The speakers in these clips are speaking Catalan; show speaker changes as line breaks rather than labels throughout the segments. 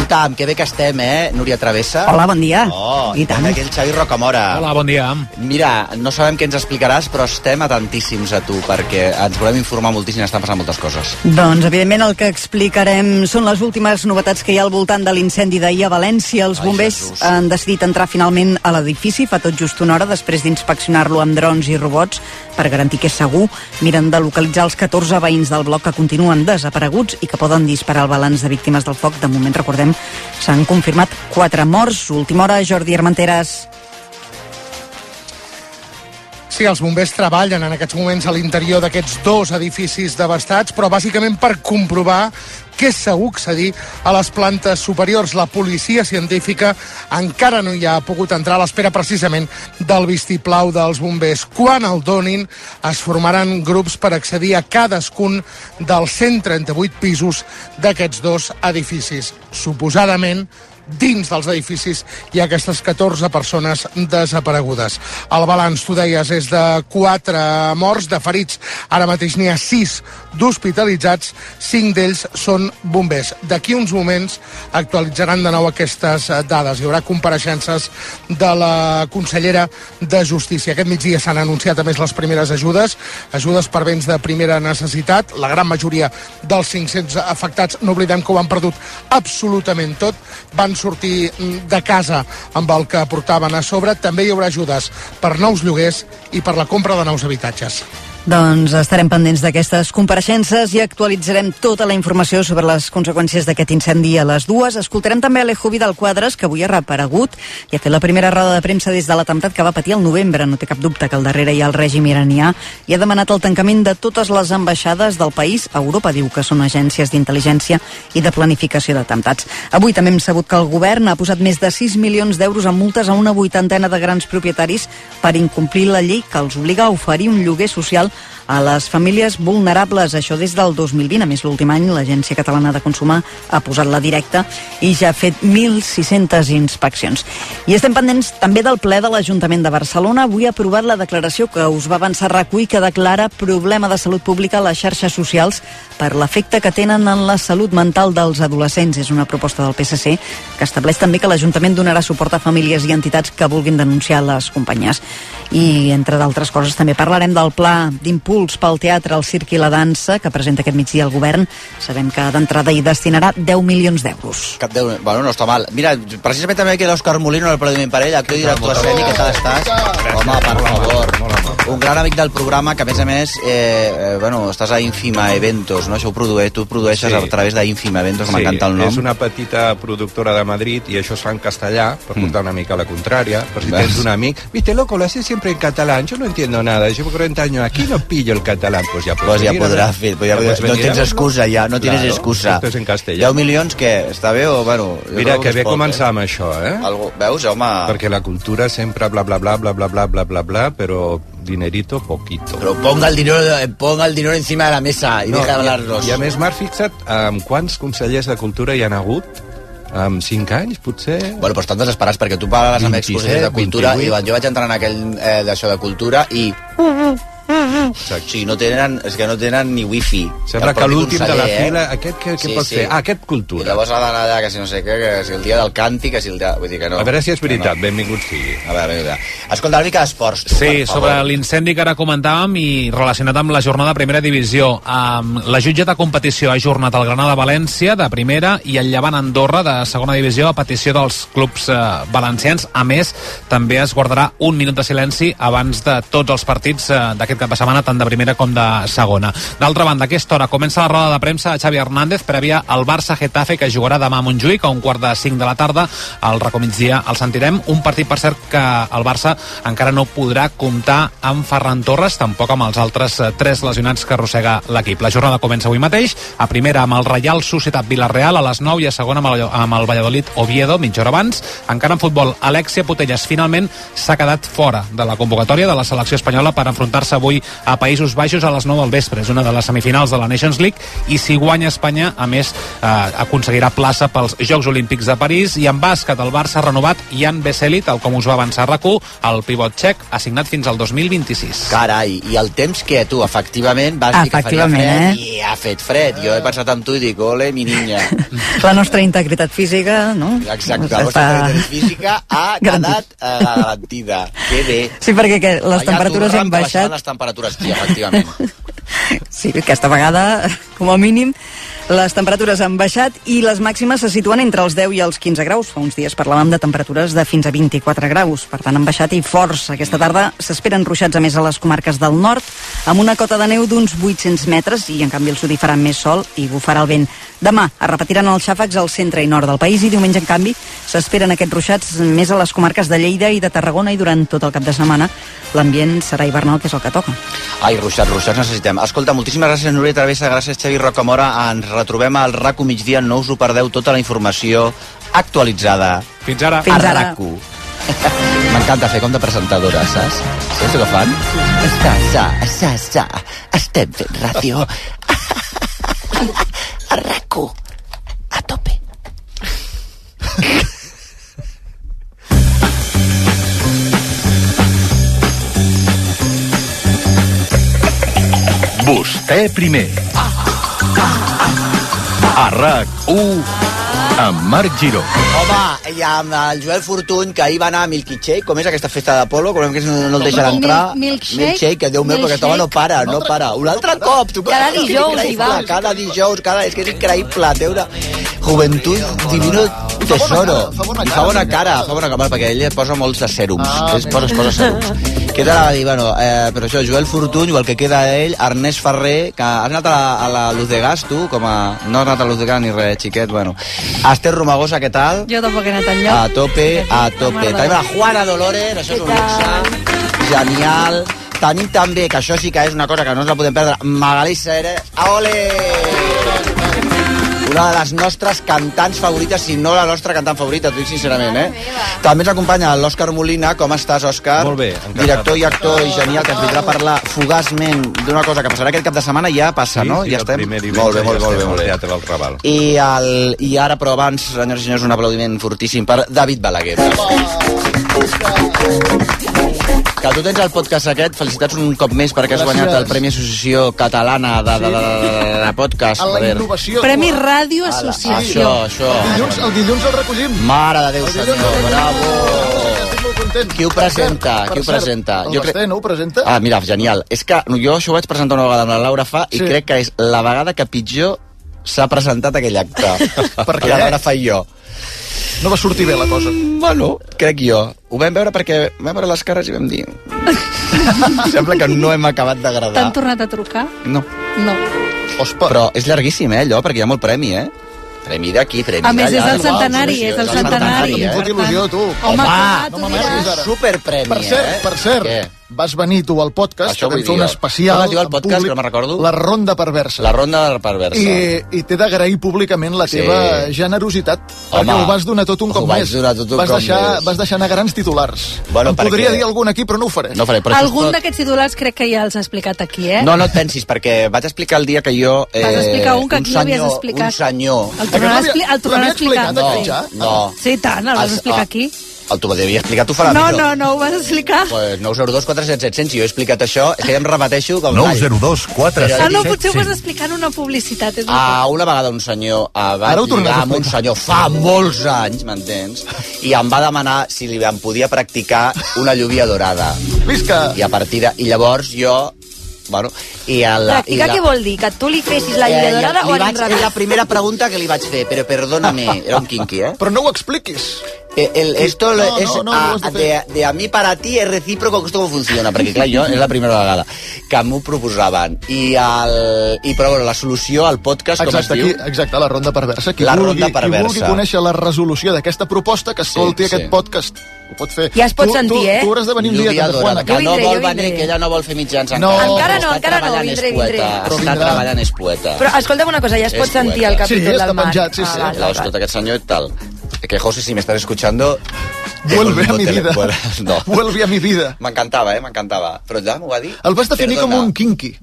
estam? Que bé que estem, eh, Núria Travessa?
Hola, bon dia.
Oh,
I tant.
Aquell Xavi Rocamora.
Hola, bon dia.
Mira, no sabem què ens explicaràs, però estem atentíssims a tu, perquè ens volem informar moltíssim, estan passant moltes coses.
Doncs, evidentment, el que explicarem són les últimes novetats que hi ha al voltant de l'incendi d'ahir a València. Els
Ai,
bombers
Jesús.
han decidit entrar finalment a l'edifici fa tot just una hora després d'inspeccionar-lo amb drons i robots per garantir que és segur. Miren de localitzar els 14 veïns del bloc que continuen desapareguts i que poden disparar el balanç de víctimes del foc. De moment, recordem, s'han confirmat 4 morts. Última hora, Jordi Armenteres.
Sí, els bombers treballen en aquests moments a l'interior d'aquests dos edificis devastats, però bàsicament per comprovar que és segur accedir a les plantes superiors. La policia científica encara no hi ha pogut entrar a l'espera precisament del vistiplau dels bombers. Quan el donin, es formaran grups per accedir a cadascun dels 138 pisos d'aquests dos edificis. Suposadament, dins dels edificis hi ha aquestes 14 persones desaparegudes. El balanç, tu deies, és de 4 morts, de ferits. Ara mateix n'hi ha 6 d'hospitalitzats, 5 d'ells són bombers. D'aquí uns moments actualitzaran de nou aquestes eh, dades. Hi haurà compareixences de la consellera de Justícia. Aquest migdia s'han anunciat a més les primeres ajudes, ajudes per béns de primera necessitat. La gran majoria dels 500 afectats, no oblidem que ho han perdut absolutament tot, van sortir mm, de casa amb el que portaven a sobre. També hi haurà ajudes per nous lloguers i per la compra de nous habitatges.
Doncs estarem pendents d'aquestes compareixences i actualitzarem tota la informació sobre les conseqüències d'aquest incendi a les dues. Escoltarem també Alejo Vidal Quadres, que avui ha reparegut i ha fet la primera roda de premsa des de l'atemptat que va patir el novembre. No té cap dubte que al darrere hi ha el règim iranià i ha demanat el tancament de totes les ambaixades del país. Europa diu que són agències d'intel·ligència i de planificació d'atemptats. Avui també hem sabut que el govern ha posat més de 6 milions d'euros en multes a una vuitantena de grans propietaris per incomplir la llei que els obliga a oferir un lloguer social a les famílies vulnerables. Això des del 2020. A més, l'últim any l'Agència Catalana de Consum ha posat la directa i ja ha fet 1.600 inspeccions. I estem pendents també del ple de l'Ajuntament de Barcelona. Avui ha aprovat la declaració que us va avançar Recull que declara problema de salut pública a les xarxes socials per l'efecte que tenen en la salut mental dels adolescents. És una proposta del PSC que estableix també que l'Ajuntament donarà suport a famílies i entitats que vulguin denunciar les companyies. I, entre d'altres coses, també parlarem del pla d'impuls pel teatre, el circ i la dansa que presenta aquest migdia el govern. Sabem que d'entrada hi destinarà 10 milions d'euros.
Cap Déu, bueno, no està mal. Mira, precisament també queda Òscar Molino en el Premi Parell, actor i director escènic, què tal estàs? Home, per favor. Un gran amic del programa que, a més a més, eh, eh, bueno, estàs a Ínfima Eventos, no? Això ho produeix, tu ho produeixes
Sí.
a través d'Ínfima Eventos, que m'encanta el nom.
és una petita productora de Madrid i això es fa en castellà, per
Mm.
portar una mica a la contrària, per si
Vas.
tens un amic. Viste, loco, lo haces siempre en catalán, yo no entiendo nada, llevo 40 años aquí, no pillo el catalán. Pues ya,
Pues
puedes
ya
venir,
podrá
¿no?
hacer, pues ya podrá-
puedes
no
venir,
tienes
¿no?
excusa ya, no tienes
Claro,
excusa.
Esto es en castellà.
10 milions, què? Està bé o, bueno... jo
Mira,
crec
que
es
bé
pot,
començar amb això, eh?
Eh? Algo, veus, home... Perquè...
Perquè la cultura sempre bla, bla, bla, bla, bla, bla, bla, bla, bla, però dinerito poquito.
Però ponga el dinero, eh, ponga el dinero encima de la mesa i no, deja hablar-los.
I, I a més, Marc, fixa't en quants consellers de cultura hi han hagut? En 5 anys, potser?
Bueno, però estan desesperats perquè tu parles amb
27,
exposicions de cultura
28.
i diuen, jo vaig entrar en aquell eh, d'això de cultura i... O sigui, no tenen, és que no tenen ni wifi.
Sembla
El
que
propi
l'últim de la
conseller, eh?
fila, aquest que- que pot fer? Ah, aquest cultura.
I llavors ha d'anar allà, que si no sé què, que si el dia del càntic, que si el dia... Vull dir que no.
A veure si és
Que
veritat, benvingut sigui.
No. A veure, a veure. Escolta, una mica d'esports, tu,
Sí,
per favor.
sobre l'incendi que ara comentàvem i relacionat amb la jornada de primera divisió. Um, la jutja de competició ha ajornat el Granada València de primera i el Llevant Andorra de segona divisió a petició dels clubs eh, valencians. A més, també es guardarà un minut de silenci abans de tots els partits eh, d'aquest cap de setmana, tant de primera com de segona. D'altra banda, a aquesta hora comença la roda de premsa de Xavi Hernández prèvia al Barça-Getafe que jugarà demà a Montjuïc a un quart de cinc de la tarda. Al recomitgia el sentirem. Un partit, per cert, que el Barça encara no podrà comptar amb Ferran Torres, tampoc amb els altres eh, tres lesionats que arrossega l'equip. La jornada comença avui mateix, a primera amb el Reial Societat Villarreal a les 9 i a segona amb el, amb el Valladolid Oviedo, mitja hora abans. Encara en futbol, Alexia Putellas finalment s'ha quedat fora de la convocatòria de la selecció espanyola per enfrontar-se avui a Països Baixos a les 9 del vespre. És una de les semifinals de la Nations League i si guanya Espanya, a més, eh, aconseguirà plaça pels Jocs Olímpics de París i en bàsquet el Barça ha renovat Jan Veseli, tal com us va avançar rac el pivot txec, assignat fins al 2026.
Carai, i el temps que tu, efectivament, vas dir que faria
Efectivament,
fred
eh?
i ha fet fred. Jo he pensat en tu i dic, ole, mi niña.
La nostra integritat física, no?
Exacte,
Està-
la vostra integritat física ha quedat
Garantit.
eh, garantida. Que bé.
Sí, perquè que les
Allà
temperatures
tornant
han
de baixar
baixat.
Les temperatures, sí, efectivament.
Sí, aquesta vegada, com a mínim, les temperatures han baixat i les màximes se situen entre els 10 i els 15 graus. Fa uns dies parlàvem de temperatures de fins a 24 graus. Per tant, han baixat i força. Aquesta tarda s'esperen ruixats a més a les comarques del nord, amb una cota de neu d'uns 800 metres i, en canvi, el sud hi farà més sol i bufarà el vent. Demà es repetiran els xàfecs al centre i nord del país i diumenge, en canvi, s'esperen aquests ruixats més a les comarques de Lleida i de Tarragona i durant tot el cap de setmana l'ambient serà hivernal, que és el que toca.
Ai, ruixats, ruixats necessitem. Escolta, moltíssimes gràcies, Núria Travessa, gràcies, Xavi Rocamora. Ens retrobem al RACU migdia, no us ho perdeu, tota la informació actualitzada
Fins ara.
Fins
a
ara.
RACU. M'encanta fer com de presentadora, saps? Saps el que fan? Sa, sa, sa, sa. Estem fent ràdio. A RACU. A tope.
Vostè primer. A RAC1 amb Marc Giró.
Home, i amb el Joel Fortuny, que ahir va anar a Milkshake, com és aquesta festa de polo, com que no, no el deixen
Mil-
entrar.
milkshake?
Milkshake, que Déu meu, perquè aquest home no para, no para. Un altre cop, tu
Cada
és que és
dijous hi
increïble,
va.
Cada dijous, cada... És que és increïble, té una... Joventut divino tesoro.
Fa bona cara, fa bona cara,
I fa bona cara, fa bona cara, perquè ell posa molts de sèrums. Ah, es posa, es posa sèrums. Què t'anava a dir? Bueno, eh, però això, Joel Fortuny, o el que queda d'ell, Ernest Ferrer, que has anat a la, a la Luz de Gas, tu, com a... No has anat a la Luz de Gas ni res, xiquet, bueno. Esther Romagosa, què tal?
Jo tampoc he anat
A
enlloc.
tope, a tope. Tenim la Juana Dolores, això és un
Què tal?
luxe. Genial. Tenim també, que això sí que és una cosa que no ens la podem perdre, Magalí Serres. Ole! Una de les nostres cantants favorites, si no la nostra cantant favorita, t'ho dic sincerament, eh? També ens acompanya l'Òscar Molina. Com estàs, Òscar?
Molt bé, encantat.
Director i actor i genial, que ens vindrà a parlar fugaçment d'una cosa que passarà aquest cap de setmana i ja passa, no? ja estem.
Molt bé,
molt bé, molt bé, molt bé. Molt bé.
Teatre del Raval.
I, el, I ara, però abans, senyors i senyors, un aplaudiment fortíssim per David Balaguer. Que tu tens el podcast aquest, felicitats un cop més perquè has guanyat el Premi Associació Catalana de, de, de, de, de, de Podcast.
A la
Joder.
innovació.
Premi Ràdio
Ala,
Associació.
Això, això.
El dilluns, el dilluns el recollim.
Mare de Déu,
El dilluns
senyor,
el recollim.
bravo.
Estic molt content.
Qui ho
Per
presenta?
cert,
Qui ho
per cert,
presenta?
El
Jo
Basté,
crec-
no ho presenta?
Ah, mira, genial. És que jo això ho vaig presentar una vegada amb la Laura Fa i
Sí.
crec que és la vegada que pitjor s'ha presentat aquell acte.
Per què?
La Laura Fa i jo. Mm,
No va sortir bé la cosa.
Bueno, crec jo. Ho vam veure perquè vam veure les cares i vam dir... "Mm, Sembla que no hem acabat d'agradar.
T'han tornat a trucar?
No.
No.
Ospa.
Però és llarguíssim, eh, allò, perquè hi ha molt premi, eh? Premi d'aquí, premi
A més, és
d'allà.
el centenari,
Sí, sí,
és el
centenari.
eh?
centenari.
Em fot
per
il·lusió,
tant.
tu.
Home,
Home,
clar,
no
tu
m'amaguis
diràs.
ara.
Superpremi,
Per cert,
eh?
per cert,
Què?
vas venir tu al podcast,
Això
que vam
vull
fer un
dir.
especial...
Com es diu el
en
podcast, que no me'n recordo?
La Ronda Perversa.
La ronda de perversa.
I, i t'he d'agrair públicament la
Sí.
teva generositat,
Home,
perquè ho vas donar tot un
ho
cop
vaig
més.
donar tot un
vas,
cop
deixar,
més.
vas deixar anar grans titulars.
Bueno,
en
perquè-
podria dir eh? algun aquí, però no ho faré.
No faré, però això és
Algun
tot-
d'aquests titulars crec que ja els ha explicat aquí, eh?
No, no et pensis, perquè vaig explicar el dia que jo... Eh,
Vas explicar un que aquí no
senyor,
havies explicat.
Un senyor...
El tornarà a
Aquest l'havia-
expli- el tornarà a
l'havia
explicar.
explicat aquí ja?
no.
Sí, tant, el vas explicar aquí.
El tu devia explicar, tu farà
No,
millor.
no, no, ho vas explicar.
Pues 902 400 700, si jo he explicat això, és que ja em repeteixo... Com
902
Ah, no, potser ho
477
vas explicar en una publicitat. És
Ah, una vegada un senyor ah, va
Ara ho tornaràs
lligar
a
amb un
explicar.
senyor fa molts anys, m'entens? I em va demanar si li em podia practicar una lluvia dorada.
Visca!
I a partir de... I llavors jo... Bueno, i a la, i
Practicar
la,
què vol dir? Que tu li fessis la
Eh,
lliga
i a-
dorada
li
o en
vaig, és la primera pregunta que li vaig fer, però perdóname, era un kinky, eh?
Però no ho expliquis.
Eh, El, esto
No,
lo-
no,
es
no, no
a,
ho has de
de, de a mi para ti és recíproco, que esto com funciona, perquè clar, jo és la primera vegada que m'ho proposaven. I, el, i però bueno, la solució al podcast, com
Exacte,
es diu?
aquí, exacte, la ronda perversa. Qui
La
vulgui,
ronda perversa.
Qui vulgui conèixer la resolució d'aquesta proposta, que escolti sí,
Sí, sí.
aquest podcast. Ho pot fer.
Ja es pot
tu, tu,
sentir, eh?
Tu hauràs de venir un dia,
Lluvia
també,
dorada,
Juana.
que no
Jo vindré,
vol
jo vindré.
venir, que ella no vol fer mitjans
No.
encara.
Encara
no,
Està
encara no,
treballant, és
vindré, vindré.
poeta,
Però
Està
vindrà.
treballant, és poeta.
Però escolta'm una cosa, ja es
És
pot sentir
poeta.
el
Sí,
capítol
està
del Marc.
penjat, sí, sí.
Ah,
Claro,
vale,
escolta,
vale.
aquest senyor i tal. Que, José, si m'estàs escuchando, eh,
Vuelve a mi
Tele-
vida.
Bueno, no.
Vuelve a mi vida.
M'encantava, eh? M'encantava. Però ja m'ho va dir.
El vas definir
Perdona.
com un kinky.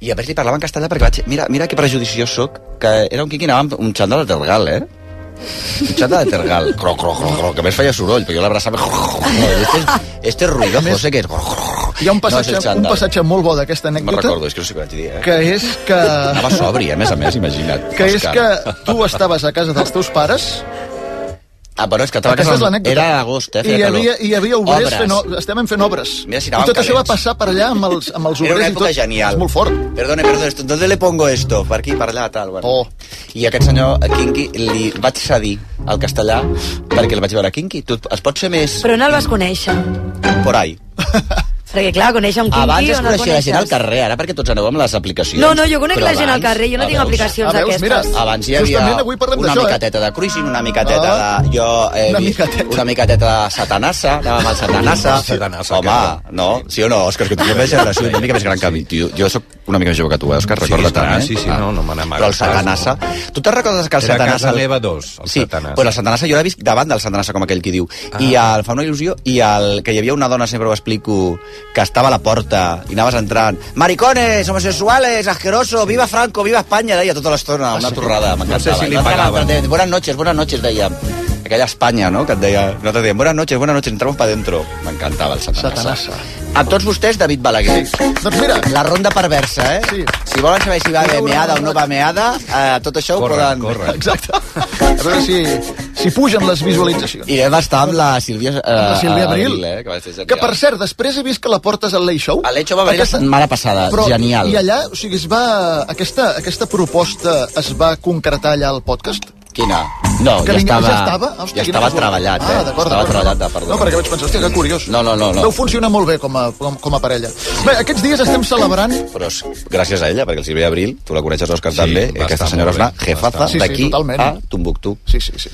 I a més li parlava en castellà perquè vaig... Mira, mira que prejudiciós sóc, que era un quiqui anava amb un xandall de Tergal, eh? Un xandall de Tergal. Cro, cro, cro, cro, que a més feia soroll, però jo l'abraçava... Este, es- este es ruidoso, que és...
Hi ha un passatge,
No, és el
un
xandall.
passatge molt bo d'aquesta
No me'n
anècdota,
recordo, és que no sé què vaig dir, eh?
que és que...
Anava sobri, a més a més, imagina't.
que és
Òscar.
que tu estaves a casa dels teus pares
Ah, bueno, és que estava
Aquesta és
casant...
l'anècdota.
Era agost, eh?
i
Feia
hi havia,
calor.
hi havia obrers
Obres.
fent... o- Estaven fent obres.
Mira
I
si anaven
tot això va
calents.
passar per allà amb els, amb els
Era
obrers
una
i tot.
època genial.
És molt fort.
Perdone, perdone, esto, ¿dónde le pongo esto? Per aquí, per allà, tal. Bueno.
Oh.
I aquest senyor, a Kinky, li vaig cedir al castellà perquè el vaig veure a Kinky. Tu es pot ser més
Però on el vas conèixer?
por ahí.
Perquè, clar, conèixer un quinqui
Abans es
on el
coneixia la gent al
coneixes?
carrer, ara perquè tots aneu amb les aplicacions.
No, no, jo conec
Però
la gent al
abans-
carrer, jo no
Ah,
tinc
veus?
aplicacions
Ah, veus, mira.
d'aquestes.
Abans hi havia
Justament avui parlem
una
d'això, eh?
micateta de cruising, una micateta
Ah.
de... Jo he
Una
vist
micateta.
una micateta de satanassa, anàvem amb el satanassa.
Satanassa,
Home,
clar.
Ah, no? Sí o no, Òscar? Que tu tens una generació una mica més gran que mi. Tio, jo sóc una mica més jove que tu, eh, Òscar?
Sí,
Recorda
clar,
tant, eh?
sí, sí, no, no me n'amagues
Però el satanassa... Tu te'n recordes que el
Era
satanassa...
casa meva dos, el
sí,
Satanassa. Ah.
però el satanassa jo l'he vist davant del satanassa, com aquell qui diu. I el fa una il·lusió, i el, que hi havia una dona, sempre ho explico, que estava a la porta i anaves entrant. Maricones, homosexuales, asqueroso, viva Franco, viva Espanya, deia tota l'estona, una torrada, m'encantava.
No sé si li
Nosaltres
pagaven.
l'altre dèiem, Buenas noches, buenas noches, deia. Aquella Espanya, no?, que et deia... No te deien, buenas noches, buenas noches, entramos pa dentro. M'encantava el satanassa.
Satanassa.
A tots vostès, David Balaguer.
Doncs mira,
La ronda perversa, eh?
Sí.
Si volen saber si va haver meada o no va meada, eh, tot això
Corre,
ho poden...
corre.
exacte. A veure si, si pugen les visualitzacions.
I vam estar amb la Sílvia... Eh,
La Sílvia Abril,
eh, que va ser genial.
que per cert, després he vist que la portes al Late Show.
A l'Echo va venir la setmana passada,
Però,
genial.
I allà, o sigui, es va, aquesta, aquesta proposta es va concretar allà al podcast?
Quina? No,
Que
ja
vinc-
estava...
ja estava? Hòstia,
ja
quina
estava
casualitat.
treballat, eh?
Ah, d'acord,
Estava
d'acord.
treballat, eh, perdó.
No, perquè vaig pensar, hòstia, que curiós.
No, no, no, no.
Deu funcionar molt bé com a, com, com a parella. Bé, aquests dies estem celebrant...
Però és gràcies a ella, perquè el Silvia Abril, tu la coneixes, Òscar,
Sí,
també,
va
aquesta
estar
senyora és
molt bé,
una
va
jefaza
estar-
Sí, sí,
d'aquí
totalment.
a Tombuctú.
Sí, sí, sí.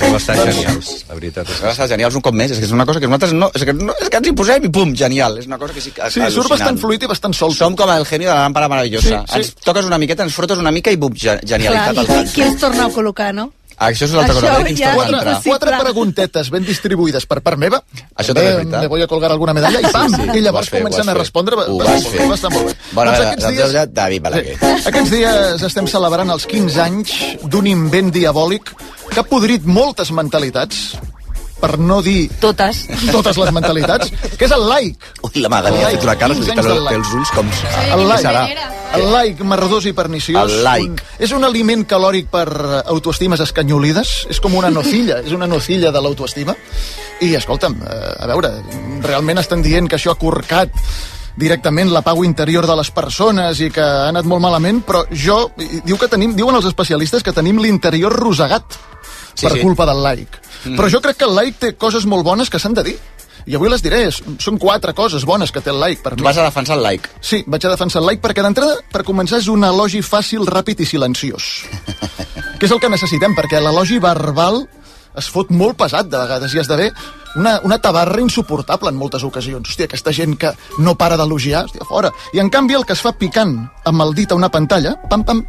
Però està genial, la veritat. És
Va estar genial, Doncs- és un cop més, és que és una cosa que nosaltres no... És que, no, és que ens hi posem i pum, genial. És una cosa que sí que...
Sí, surt bastant fluid i bastant sol.
Som com el genio de la làmpara meravellosa.
Sí, sí.
Ens toques una miqueta, ens frotes una mica i bum, ge-
Clar,
genialitat al
i qui, qui
tanto.
es torna a col·locar, no?
Això és l'altra
Això
cosa. eh? Això,
ja-
ja,
Quatre,
altra.
impossible.
quatre preguntetes ben distribuïdes per part meva.
Això també és veritat.
Me voy a colgar alguna medalla i pam!
Sí, sí,
I llavors
ho vas fer, ho
comencen
vas
a
fer.
respondre.
Ho
va-
vas fer.
Va estar molt bé.
Bona
doncs
vegada,
aquests
doncs,
dies...
ja, David Balaguer.
Sí. Aquests dies estem celebrant els 15 anys d'un invent diabòlic que ha podrit moltes mentalitats, per no dir
Totes.
totes les mentalitats, que és el like.
Ui, la Magali ha fet una cara,
Quinze
té
anys del
els,
like.
té els ulls com...
El
Què serà?
like, el like merdós i perniciós.
El like.
Un, és un aliment calòric per eh, autoestimes escanyolides. És com una nocilla, és una nocilla de l'autoestima. I, escolta'm, eh, a veure, realment estan dient que això ha corcat directament la pau interior de les persones i que ha anat molt malament, però jo... i- Diu que tenim, diuen els especialistes que tenim l'interior rosegat sí,
Sí,
per
sí.
sí. culpa del like. Mm. Però jo crec que el like té coses molt bones que s'han de dir. I avui les diré. S- Són quatre coses bones que té el like per
Tu
mi.
vas a defensar el like.
Sí, vaig a defensar el like perquè d'entrada, per començar, és un elogi fàcil, ràpid i silenciós. que és el que necessitem, perquè l'elogi verbal es fot molt pesat de vegades i esdevé una, una tabarra insuportable en moltes ocasions. Hòstia, aquesta gent que no para d'elogiar, hòstia, fora. I en canvi el que es fa picant amb el dit a una pantalla, pam, pam,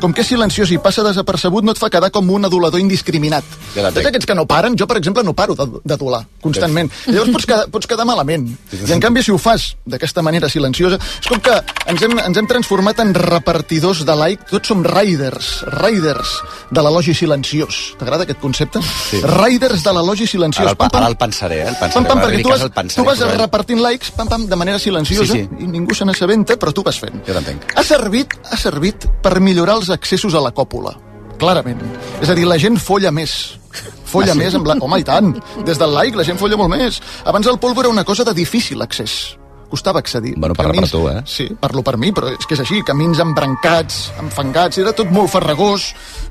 com que és silenciós i passa desapercebut, no et fa quedar com un adulador indiscriminat.
Ja l'entenc.
Tots aquests que no paren, jo, per exemple, no paro d'ad- d'adular constantment. Llavors pots quedar, pots quedar malament. I, en canvi, si ho fas d'aquesta manera silenciosa... És com que ens hem, ens hem transformat en repartidors de like. Tots som riders, riders de l'elogi silenciós. T'agrada aquest concepte? Sí. Riders de l'elogi
Ara
silenciós.
el, pa- ara el pensaré, eh? El pensaré.
Pam, pam,
Quan
perquè tu
arribi a
vas,
casa el pensaré,
tu vas
però-
repartint likes pam, pam, de manera silenciosa
Sí,
sí,
sí.
sí. i ningú se n'assabenta, però tu vas fent.
Jo t'entenc.
Ha servit, ha servit per millorar els accessos a la còpula, clarament. És a dir, la gent folla més.
Ah,
Folla més amb la... Home, i tant! Des del like la gent folla molt més. Abans el polvo era una cosa de difícil accés. Costava accedir.
Bueno, parla per tu, eh?
Sí, parlo per mi, però és que és així. Camins embrancats, enfangats, era tot molt farragós.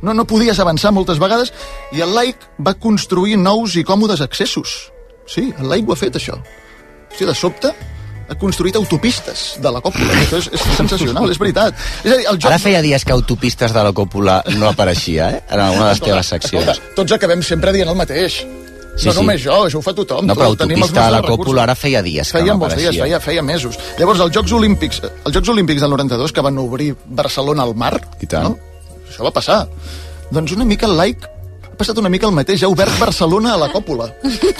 No, no podies avançar moltes vegades. I el like va construir nous i còmodes accessos. Sí, el like ho ha fet, això. Hòstia, de sobte ha construït autopistes de la còpula. Això és, és sensacional, és veritat. És a dir, el joc...
Ara feia dies que autopistes de la còpula no apareixia, eh? En alguna de les teves seccions.
Escolta, tots acabem sempre dient el mateix.
Sí,
no
sí.
només jo, això ho fa tothom.
No, però
tot, tenim els
autopista de la
nostres recursos.
còpula ara feia dies que
Feia
no
molts dies,
apareixia.
feia, feia mesos. Llavors, els Jocs Olímpics, els Jocs Olímpics del 92, que van obrir Barcelona al mar,
I tant.
no? això va passar. Doncs una mica el like passat una mica el mateix. Ha obert Barcelona a la còpula.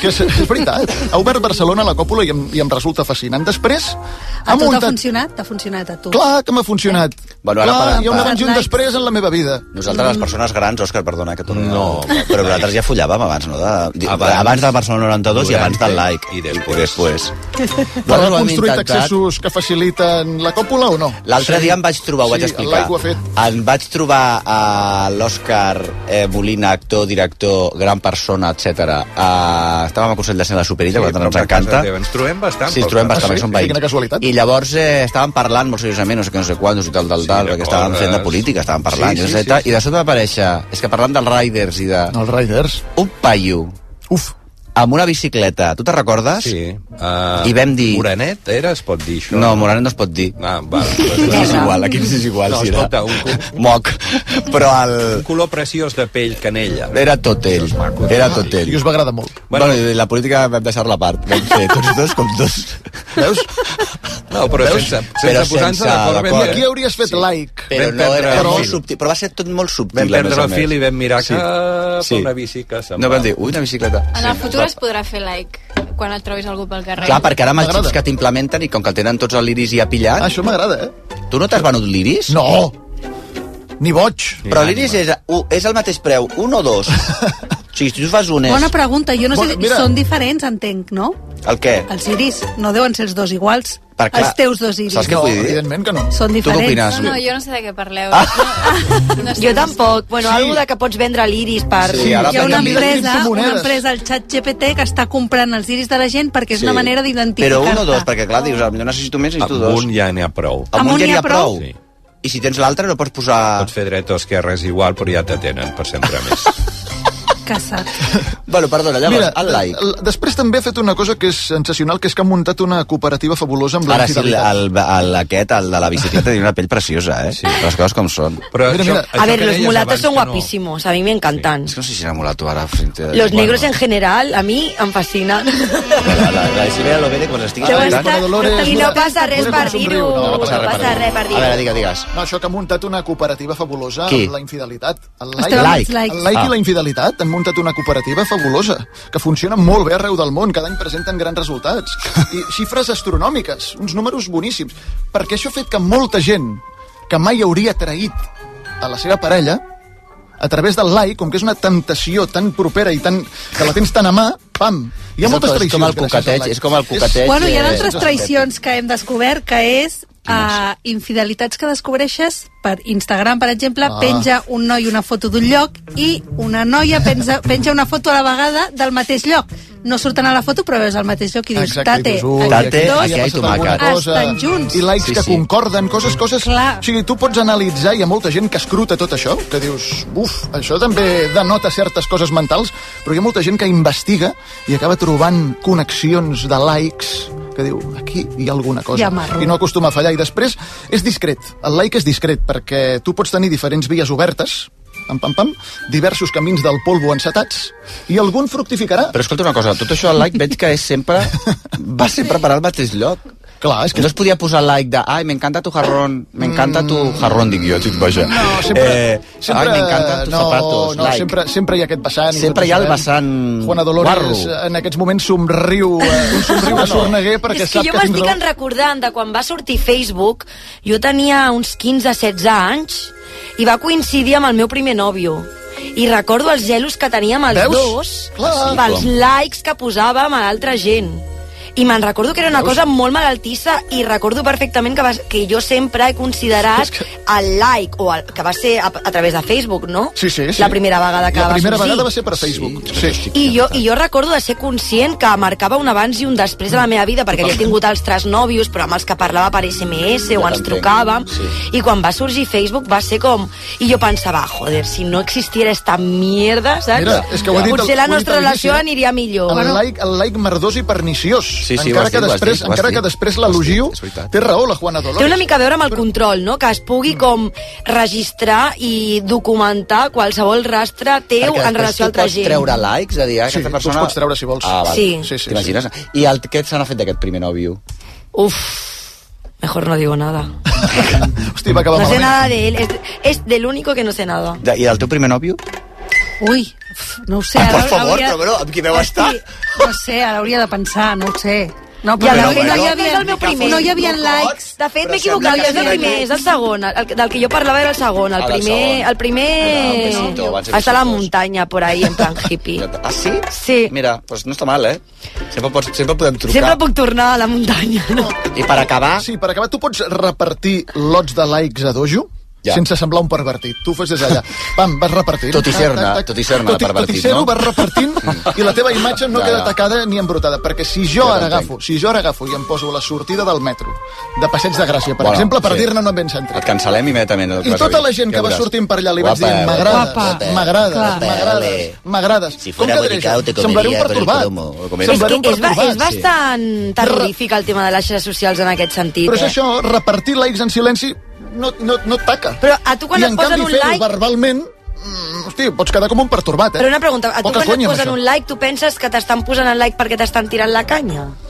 Que és, és veritat. Ha obert Barcelona a la còpula i em, i em resulta fascinant. Després,
A tu t'ha funcionat? T'ha funcionat a tu.
Clar que m'ha funcionat.
Bueno, ara
Clar,
per-
hi ha un
per-
abans i un després en la meva vida. Mm.
Nosaltres, les persones grans, Òscar, perdona que torni.
No,
però nosaltres ja follàvem abans, no? De, di-
Abans.
abans, de Barcelona 92 i abans del
Durante
like.
i després.
I després.
Però
Nosaltres
ha
ho hem
construït
intentat.
accessos que faciliten la còpula o no?
L'altre dia em vaig trobar, ho vaig
Sí,
explicar.
l'aigua ha fet.
Em vaig trobar a l'Òscar eh, Molina, actor, director, gran persona, etc. Uh, estàvem al Consell de Cent de la Superilla, sí,
però
que
per
ens encanta.
casa teva. Ens trobem bastant. eh?
Sí, ens
pel
trobem
carrer.
bastant,
Ah, sí?
perquè som
Sí,
veïns.
quina casualitat.
I llavors eh, estaven parlant molt seriosament, no sé què, no sé quants, i tal, tal, tal,
de
perquè estàvem
coses.
fent de política, estàvem parlant,
Sí,
sí,
sí,
sí,
sí,
sí,
sí.
i de sobte va aparèixer, és que parlant dels riders i de... No.
Els Riders.
Un paio
Uf.
amb una bicicleta, tu te'n recordes?
Sí. Uh,
I vam dir-
Moranet, era? Es pot dir això?
No, Moranet no es pot dir.
Ah, val.
No, és igual, aquí ens és igual,
No,
si era...
escolta, un-
Moc. Però el...
Un color preciós de pell canella.
Era tot ell. Era tot ell.
I us va agradar molt.
Bueno,
Bueno.
bueno, i la política vam deixar-la a part. Vam fer tots dos com dos... Veus?
No, però
Veus?
sense,
Però
sense posar-se
sense
d'acord. ben
d'acord.
bé.
Aquí hauries fet
Sí.
like.
Però,
Vam
no
perdre
era,
el
era molt
fil.
subtil, però va ser tot molt subtil.
Vam
a més
perdre
a
el
més.
fil i vam mirar que
Sí.
fa una bici que se'n
No
va.
vam dir, ui, una bicicleta.
En el futur es podrà fer like quan et trobis algú pel carrer.
Clar, perquè ara amb els
M'agrada.
xips que t'implementen i com que el tenen tots els liris ja pillat...
Ah, això m'agrada, eh?
Tu no t'has venut liris?
No! Ni boig.
Però l'iris és, u- és el mateix preu, un o dos? o sigui, si tu fas un és...
Bona pregunta. Jo no sé
Bona-
si
mira.
són diferents, entenc, no?
El què?
Els iris no deuen ser els dos iguals.
Per clar,
els teus dos iris.
saps què
No,
vull dir?
evidentment que no.
Són
Tu què
diferents.
opines?
No, no, jo no sé de què parleu. No, no sé-
Jo tampoc. Bueno, sí. algo de que pots vendre l'iris per...
Sí, ara
Hi ha una
Depèn de mi.
empresa, una
Criptomonedes.
empresa, el xat GPT, que està comprant els iris de la gent perquè és una manera
Però
d'identificar-te.
un o dos, perquè clar, dius, potser necessito més, necessito
Amb
dos.
un ja n'hi ha prou.
Amb, un ja n'hi ha prou.
Sí.
I si tens l'altre no pots posar...
Pots fer dret o esquerra és igual, però ja t'atenen per sempre més.
Caçat.
Bueno, perdona, llavors,
Mira,
el like.
l- després també ha fet una cosa que és sensacional, que és que ha muntat una cooperativa fabulosa amb la
Ara sí, el,
infidelitat.
el, el, aquest, el de la bicicleta, té una pell preciosa, eh? Sí. Les coses com són.
Però
Mira, mira.
A ver,
que
los
deies
mulatos
abans
son
que no.
guapísimos. A mí me encantan.
És que no sé si serà mulato ara.
eh,
frente-
Los negros en general, a mí, em fascinen.
La, la, la Isabel Lovere, quan estigui
Deu
escoltant...
estar- Dolores,
I no passa res
Dolores,
per
somriu,
dir-ho.
no,
No
per
passa res per
A veure,
dir-ho.
digues, digues.
No, això que ha muntat una cooperativa fabulosa
Qui? Ah.
amb la infidelitat. El
Estem amb els
like,
likes.
el like i la infidelitat han muntat una cooperativa fabulosa que funciona molt bé arreu del món, cada any presenten grans resultats i xifres astronòmiques, uns números boníssims, perquè això ha fet que molta gent que mai hauria traït a la seva parella a través del like, com que és una temptació tan propera i tan, que la tens tan a mà, pam, hi ha
És
moltes
el- és
traïcions.
com el
gràcies
coqueteig,
al like.
és com el coqueteig.
Bueno, hi ha
Eh,
altres traicions que hem descobert, que és uh, infidelitats que descobreixes per Instagram, per exemple,
Ah.
penja un noi una foto d'un lloc i una noia penja, penja una foto a la vegada del mateix lloc. No surten a la foto, però veus el mateix lloc i dius,
i
tate,
dius, ui,
tate,
aquests dos...
aquí
ha
hi ha
passat alguna
tomàquet.
cosa.
Estan junts.
I likes
Sí,
que
sí.
concorden, coses, coses...
Clar.
O sigui, tu pots analitzar, hi ha molta gent que escruta tot això, que dius, uf, això també denota certes coses mentals, però hi ha molta gent que investiga i acaba trobant connexions de likes que diu, aquí hi ha alguna cosa.
Hi ha marro.
I no acostuma a fallar. I després és discret. El like és discret, perquè tu pots tenir diferents vies obertes, pam, pam, pam, diversos camins del polvo encetats, i algun fructificarà.
Però escolta una cosa, tot això al like veig que és sempre... Va ser preparar al mateix lloc.
Clar, és
Que no es podia posar like de ai, m'encanta tu jarrón, m'encanta tu jarrón, dic jo, xic, vaja.
Mm.
Eh,
No, sempre... sempre
ai, m'encanten tus
no,
zapatos,
no,
like.
sempre, sempre hi ha aquest vessant. i
Sempre
tots
hi ha
ho
el
sabem.
vessant
Juana Dolores
guarro.
eh, en aquests moments somriu, eh, un somriu de sorneguer perquè
És que
sap
jo
que
m'estic en
tindrà...
recordant de quan va sortir Facebook, jo tenia uns 15-16 anys i va coincidir amb el meu primer nòvio. I recordo els gelos que teníem els
Veus?
dos Ah,
Clar.
pels likes que posàvem a l'altra gent. I me'n recordo que era una cosa molt malaltissa i recordo perfectament que, va, que jo sempre he considerat el like, o el, que va ser a, a través de Facebook, no?
Sí, sí, sí.
La primera vegada que
La
va
primera
sorgir.
vegada va ser per Facebook. Sí. sí.
I jo, I jo recordo de ser conscient que marcava un abans i un després de la meva vida, perquè havia tingut altres nòvios, però amb els que parlava per SMS o ens
t'entenc,
trucàvem,
sí.
i quan va sorgir Facebook va ser com... I jo pensava, joder, si no existiera esta mierda, saps?
Mira, és que ho he dit
Potser
al- ho
la
he dit
nostra
a l'inici, eh?
relació aniria millor.
El like, el like merdós i perniciós.
Sí, sí, ho
encara
has
que
dit, ho has
després,
dit, ho has
encara
dit.
que després
Ho has dit,
l'elogio,
és veritat.
té raó la Juana Dolores.
Té una mica a veure amb el control, no? Que es pugui
Mm.
com registrar i documentar qualsevol rastre
Perquè
teu en
després
relació a
tu
altra
pots
gent.
treure likes, de dir, ah,
Sí,
aquesta
tu els
persona...
pots treure si vols.
Ah, val.
Sí.
Sí, sí,
T'imagines? I el, què se n'ha fet d'aquest primer nòvio?
Uf, mejor no digo nada.
Hòstia, va acabar
No sé
malament.
nada de él. Es, es del único que no sé nada.
De, I del teu primer nòvio?
Ui, uf, no ho sé.
Per
Ara
favor,
hauria-
cabró, amb qui veu estar?
No sé, ara hauria de pensar, no ho sé. No,
I
però
el
no,
meu
no,
primer
hi
és
havia,
el meu primer.
no hi havia likes.
De fet, m'he
sembla
equivocat,
que
ja és
sí.
el primer, és el segon. El, del que jo parlava era el segon. El
Ah, del
primer,
segon.
el primer eh,
Ah, un besito, van ser
està a la
besitos.
muntanya, por ahí, en plan hippie.
Ah, sí?
Sí.
Mira, doncs no està mal, eh? Sempre, pots, sempre podem trucar.
Sempre puc tornar a la muntanya. No?
I per acabar...
Sí, per acabar, tu pots repartir lots de likes a dojo?
Ja.
Ja. sense semblar un pervertit. Tu ho fes des d'allà. Pam, vas repartint.
Tot i ser-ne,
Tac, tac, tac.
tot i ser-ne
tot, i- Tot
pervertit,
i ser-ho,
no?
vas repartint i la teva imatge no
Ja,
queda
ja.
tacada ni embrutada, perquè si
Ja
jo ara
t'entenc.
agafo, si jo ara agafo i em poso a la sortida del metro, de Passeig de Gràcia, per
Bueno,
exemple, per
sí.
dir-ne no em ben centrat.
Et cancel·lem immediatament. el
I
vas
tota
dir.
la gent
Ja
que va
veuràs.
sortint per allà li vaig dir
Guapa,
m'agrades,
guapa,
m'agrades,
guapa,
m'agrades,
ole.
m'agrades.
Si fuera
Com que diré
bolicao,
això?
te
Semblaré un
comería por el
pertorbat.
cromo, o comeré.
És,
Semblaré
que
un
és, ba
pertorbat.
és bastant terrorífic el tema de les xarxes socials en aquest sentit.
Però és
eh?
això, repartir likes en silenci no, no, no et taca.
Però a tu quan
I
et
en
posen
canvi
un
fer-ho
like-
verbalment, mm, hosti, pots quedar com un pertorbat, eh?
Però una pregunta, a tu
Poca
quan et
conya amb
posen
això.
un like, tu penses que t'estan posant el like perquè t'estan tirant la canya?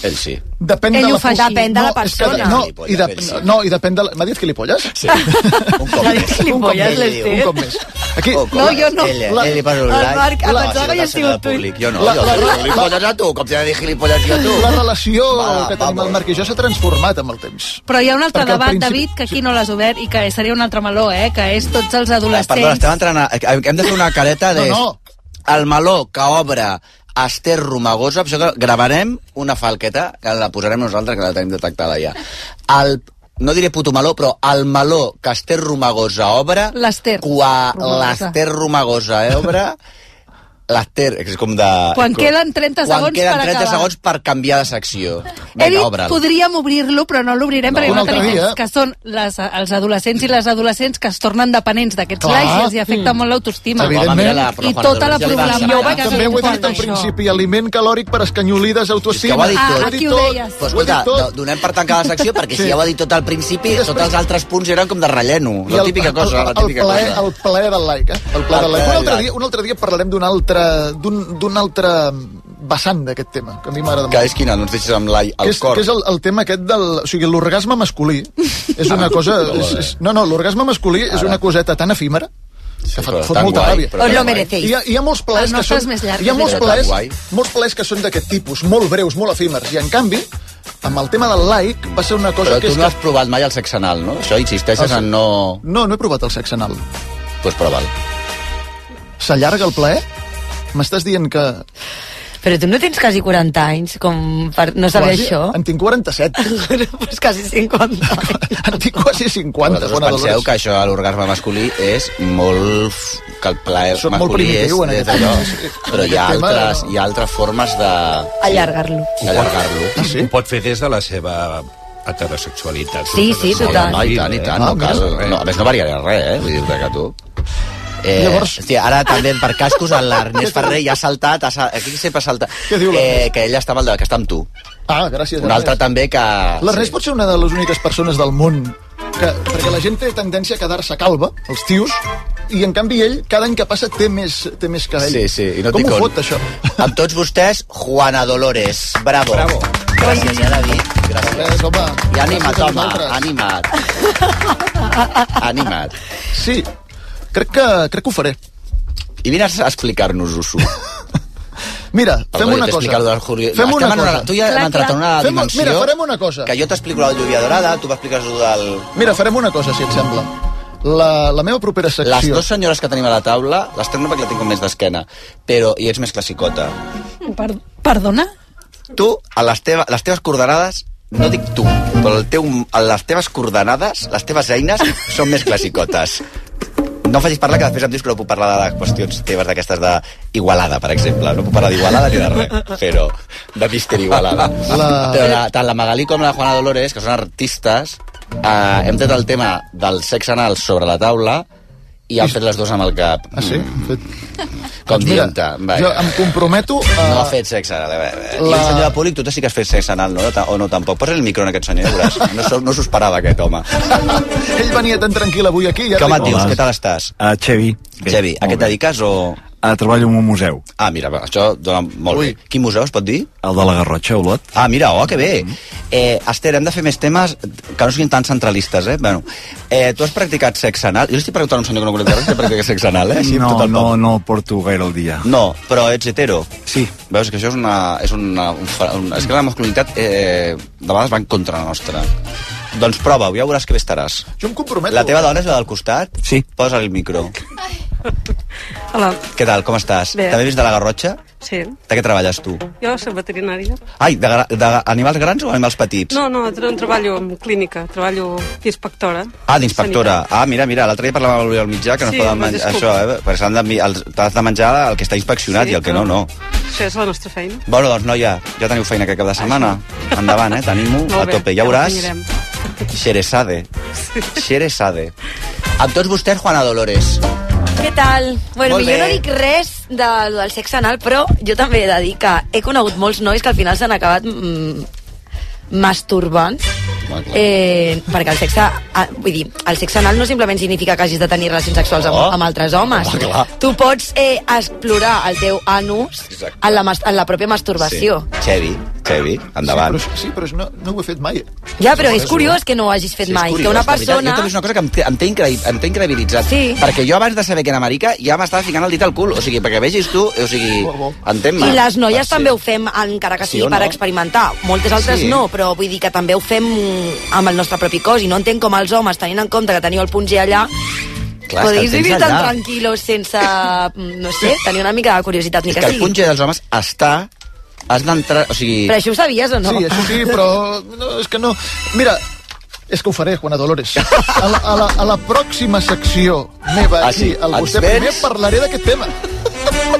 Ell sí.
Depèn
Ell
de
ho
la
fa així. Depèn de la
és que-
persona.
no, i de, no, i depèn de... la- M'ha dit gilipolles? Sí.
Un cop més.
un cop més.
l'Ester.
Un cop més. Aquí,
Un cop
No,
més.
jo no.
Ell,
La-
ell li posa un
el
like.
Marc, em
No,
pensava
si no
que has
t'has sentit
sigut tu.
públic. Jo no,
La-
jo
la-
soc
la-
gilipolles a tu, com si ha de dir gilipolles jo a tu.
la relació
Va,
que
vamos.
tenim el Marc i jo s'ha transformat amb el temps.
Però hi ha un altre
Perquè al
debat,
principi-
David, que aquí no l'has obert i que seria un altre meló, eh? Que és tots els
Perdona,
adolescents...
estem entrant a... eh, Hem de fer una careta de...
No, no.
El meló que obre Esther Romagosa, això que gravarem una falqueta, que la posarem nosaltres, que la tenim detectada ja. El, no diré puto meló, però el meló que Esther Romagosa obre...
L'Ester
Quan
Romagosa.
l'Ester Romagosa eh, obre... L'Ester, és com de...
Quan queden 30
Quan
segons
queden
per
30
acabar.
segons per canviar de secció.
He
Vinga,
dit,
obre'l.
podríem obrir-lo, però no l'obrirem
No,
perquè
un
no
altre
tenim
dia.
temps, que són les, els adolescents i les adolescents que es tornen dependents d'aquests
Clar.
likes i els hi afecta molt l'autoestima.
Evidentment.
I tota la problemàtica
Jo vaig
que
també ho he dit al
comporta això.
principi, aliment calòric per escanyolides, autoestima...
És que
Ho he
ho ha dit tot. Ah,
aquí ho
tot,
deies.
ho he
Però
dit
escolta,
tot.
do- donem per tancar la secció, perquè si
Sí.
ja ho ha dit tot al principi,
I després-
tots els altres punts eren com de relleno.
I
La típica cosa, la típica
el plaer,
cosa.
El plaer del like, eh? El plaer
El
del like.
plaer
Un
del
altre,
like.
dia, un altre dia parlarem d'un altre, d'un d'un altre vessant d'aquest tema, que a mi m'agrada
Que
molt.
és quina, no ens deixis amb l'ai
Que
al
és,
cor.
que és el, el tema aquest del... O sigui, l'orgasme masculí
Ah,
és una cosa... És, és, no, no, l'orgasme masculí és una coseta tan efímera que fa,
però
fot
tan
molta
guai,
ràbia.
però Os lo tan guai.
merecéis.
Hi ha, hi ha molts
El
plaers que
nostre és
són...
més llarg,
Hi ha
és
molts
veritat.
plaers,
Tan guai.
molts plaers que són d'aquest tipus, molt breus, molt efímers, i en canvi, amb el tema del like, va ser una cosa
Però
que
tu
és...
no
que-
has provat mai el sexe anal, no? Això insisteixes
Ah,
en no...
No, no he provat el sexe anal.
Doncs pues prova'l.
S'allarga el plaer? M'estàs dient que...
Però tu no tens quasi 40 anys com per no saber
Quasi-
això?
En tinc 47.
pues quasi 50 anys.
en tinc quasi 50.
Vosaltres
Bona
penseu
Dolors.
que això de l'orgasme masculí és molt... f- que el plaer
Són molt
masculí és...
primitiu en
des
aquest
d'allò.
tema. Sí.
Però hi ha,
Aquest tema,
altres,
no.
hi ha altres formes de...
Allargar-lo.
d'allargar-lo.
Ah, sí?
Ho pot fer des de la seva heterosexualitat.
Sí, sí,
Sense
total.
No, i tant,
eh?
i tant.
Ah,
No, cal,
mira.
no, a més, no variarà res, eh? Vull dir-te que tu... Eh, Llavors...
Llavors-
Hòstia, ara també per cascos l'Ernest Ferrer ja ha saltat, ha saltat, aquí sempre salta.
Què diu
eh,
l'Ernest?
que ella estava el de, que està amb tu.
Ah, gràcies.
Un altre també que...
L'Ernest pot ser una de les úniques persones del món que, perquè la gent té tendència a quedar-se calva, els tios, i en canvi ell, cada any que passa, té més, té més cabell.
Sí, sí, i no
Com
tinc
ho
on.
fot, això?
Amb tots vostès, Juana Dolores. Bravo. Bravo. Gràcies, ja, David. Gràcies.
Res, home.
I anima't,
Gràcies a
home,
vosaltres.
anima't. anima't.
Sí, crec que, crec que ho faré.
I vine a explicar-nos-ho, Su.
Mira, fem
Perdona,
una
jo t'he
cosa.
explicat del Julio.
Fem una
Estem en
cosa.
Una, tu ja hem
Clar,
entrat en una
clar. Fem-
dimensió...
mira, farem una cosa.
Que jo t'explico la lluvia dorada, tu m'expliques allò del...
Mira, farem una cosa, si et sembla. La, la meva propera
Les
secció...
dues senyores que tenim a la taula, les tenc no perquè la tinc com més d'esquena, però i ets més classicota.
Per, perdona?
Tu, a les, teva, les teves coordenades, no dic tu, però el teu, a les teves coordenades, les teves eines, són més classicotes. No em facis parlar, que després em dius que no puc parlar de qüestions teves d'aquestes d'Igualada, per exemple. No puc parlar d'Igualada ni de res, però de Mister Igualada. La...
La-
Però la, tant la Magalí com la Juana Dolores, que són artistes, eh, hem tret el tema del sexe anal sobre la taula i han fet les dues amb el cap.
Ah, sí?
Mm.
Fet...
Com
Doncs mira,
dient-te. vaja.
Jo em comprometo a...
No ha fet sexe anal. eh, eh. I
La-
un senyor de públic, tu sí que has fet sexe anal, no? Ta- O no, tampoc. Posa el micro en aquest senyor, ja veuràs. No, s'ho- no s'ho esperava, aquest home.
Ell venia tan tranquil avui aquí i
Què
ara...
home et dius? Què tal estàs?
A Eh, Xevi.
Xevi, a què et
molt bé.
dediques o...?
Ah, treballo en un museu.
Ah, mira, va, això dona molt Ui. bé. Quin museu es pot dir?
El de la Garrotxa, Olot. Mm-hmm.
Ah, mira, oh, que bé. Mm -hmm. eh, Esther, hem de fer més temes que no siguin tan centralistes, eh? Bueno, eh, tu has practicat sexe anal? Jo li estic preguntant a un senyor que no conec res que practica sexe anal, eh? Així,
no,
tot el
no,
poble.
no el porto gaire al dia.
No, però ets hetero.
Sí.
Veus que això és una... És, una, un, fra- un, és que la masculinitat eh, de vegades va en contra la nostra. Doncs prova-ho, ja veuràs que bé estaràs.
Jo em comprometo.
La teva dona és la del costat?
Sí.
Posa el micro.
Hola,
Què tal, com estàs?
Bé.
També vist de la Garrotxa?
sí.
De què treballes tu?
Jo soc veterinària.
Ai, d'animals grans o animals petits?
No, no, no treballo en clínica, treballo d'inspectora.
Ah, d'inspectora. Ah, mira, mira, l'altre dia parlàvem amb l'Oriol Mitjà que no
Sí,
es poden
me'n
menjar
disculpo.
això, eh? Perquè s'han de mi- els- t'has de menjar el que està inspeccionat
Sí,
i el que no,
però-
no.
Això és la nostra feina.
Bueno, doncs, noia, ja teniu feina aquest cap de setmana. Endavant, eh? Tenim-ho
Molt
a
bé,
tope. Ja
ho
veuràs,
renyirem.
Xeresade. Xeresade. Amb tots vostès, Juana Dolores.
Què tal? Bueno,
Molt
jo
bé.
no dic res de, del sexe anal, però jo també he de dir que he conegut molts nois que al final s'han acabat mm, masturbant. Eh, perquè el sexe, ah, vull dir, el sexe anal no simplement significa que hagis de tenir relacions sexuals amb,
Oh.
amb altres homes.
Home, clar.
tu pots eh, explorar el teu anus
Exacte.
en la, mas- en la pròpia masturbació.
Sí. Xevi, Xevi, endavant.
Sí, però, sí, però no, no ho he fet mai.
Ja, però és curiós que no ho hagis fet
Sí, és
mai.
curiós,
que una
la veritat.
persona...
Jo també és una cosa que em té, em té, increï, em té increïbilitzat.
Sí.
Perquè jo abans de saber que era marica ja m'estava ficant el dit al cul. O sigui, perquè vegis tu, o sigui, entén-me.
I les noies
Mm. Ah, Sí.
també ho fem, encara que
Sí
sigui
o
sí per
no?
experimentar. Moltes altres
Sí.
no, però vull dir que també ho fem amb el nostre propi cos i no entenc com els homes, tenint en compte que teniu el punt G
Clar,
allà,
és que
podeu
el tens
vivir tan
allà.
tranquil·los sense, mm, no sé, tenir una mica de curiositat, ni
És
que,
que el
sigui.
punxer dels homes està... Has d'entrar... O sigui...
Però això ho sabies o no?
Sí, això sí, però no, és que no... Mira, és que ho faré, Juana Dolores. A la, a la, a la pròxima secció meva
Ah, sí.
aquí, al
Ens
vostè
vens?
primer, parlaré d'aquest tema.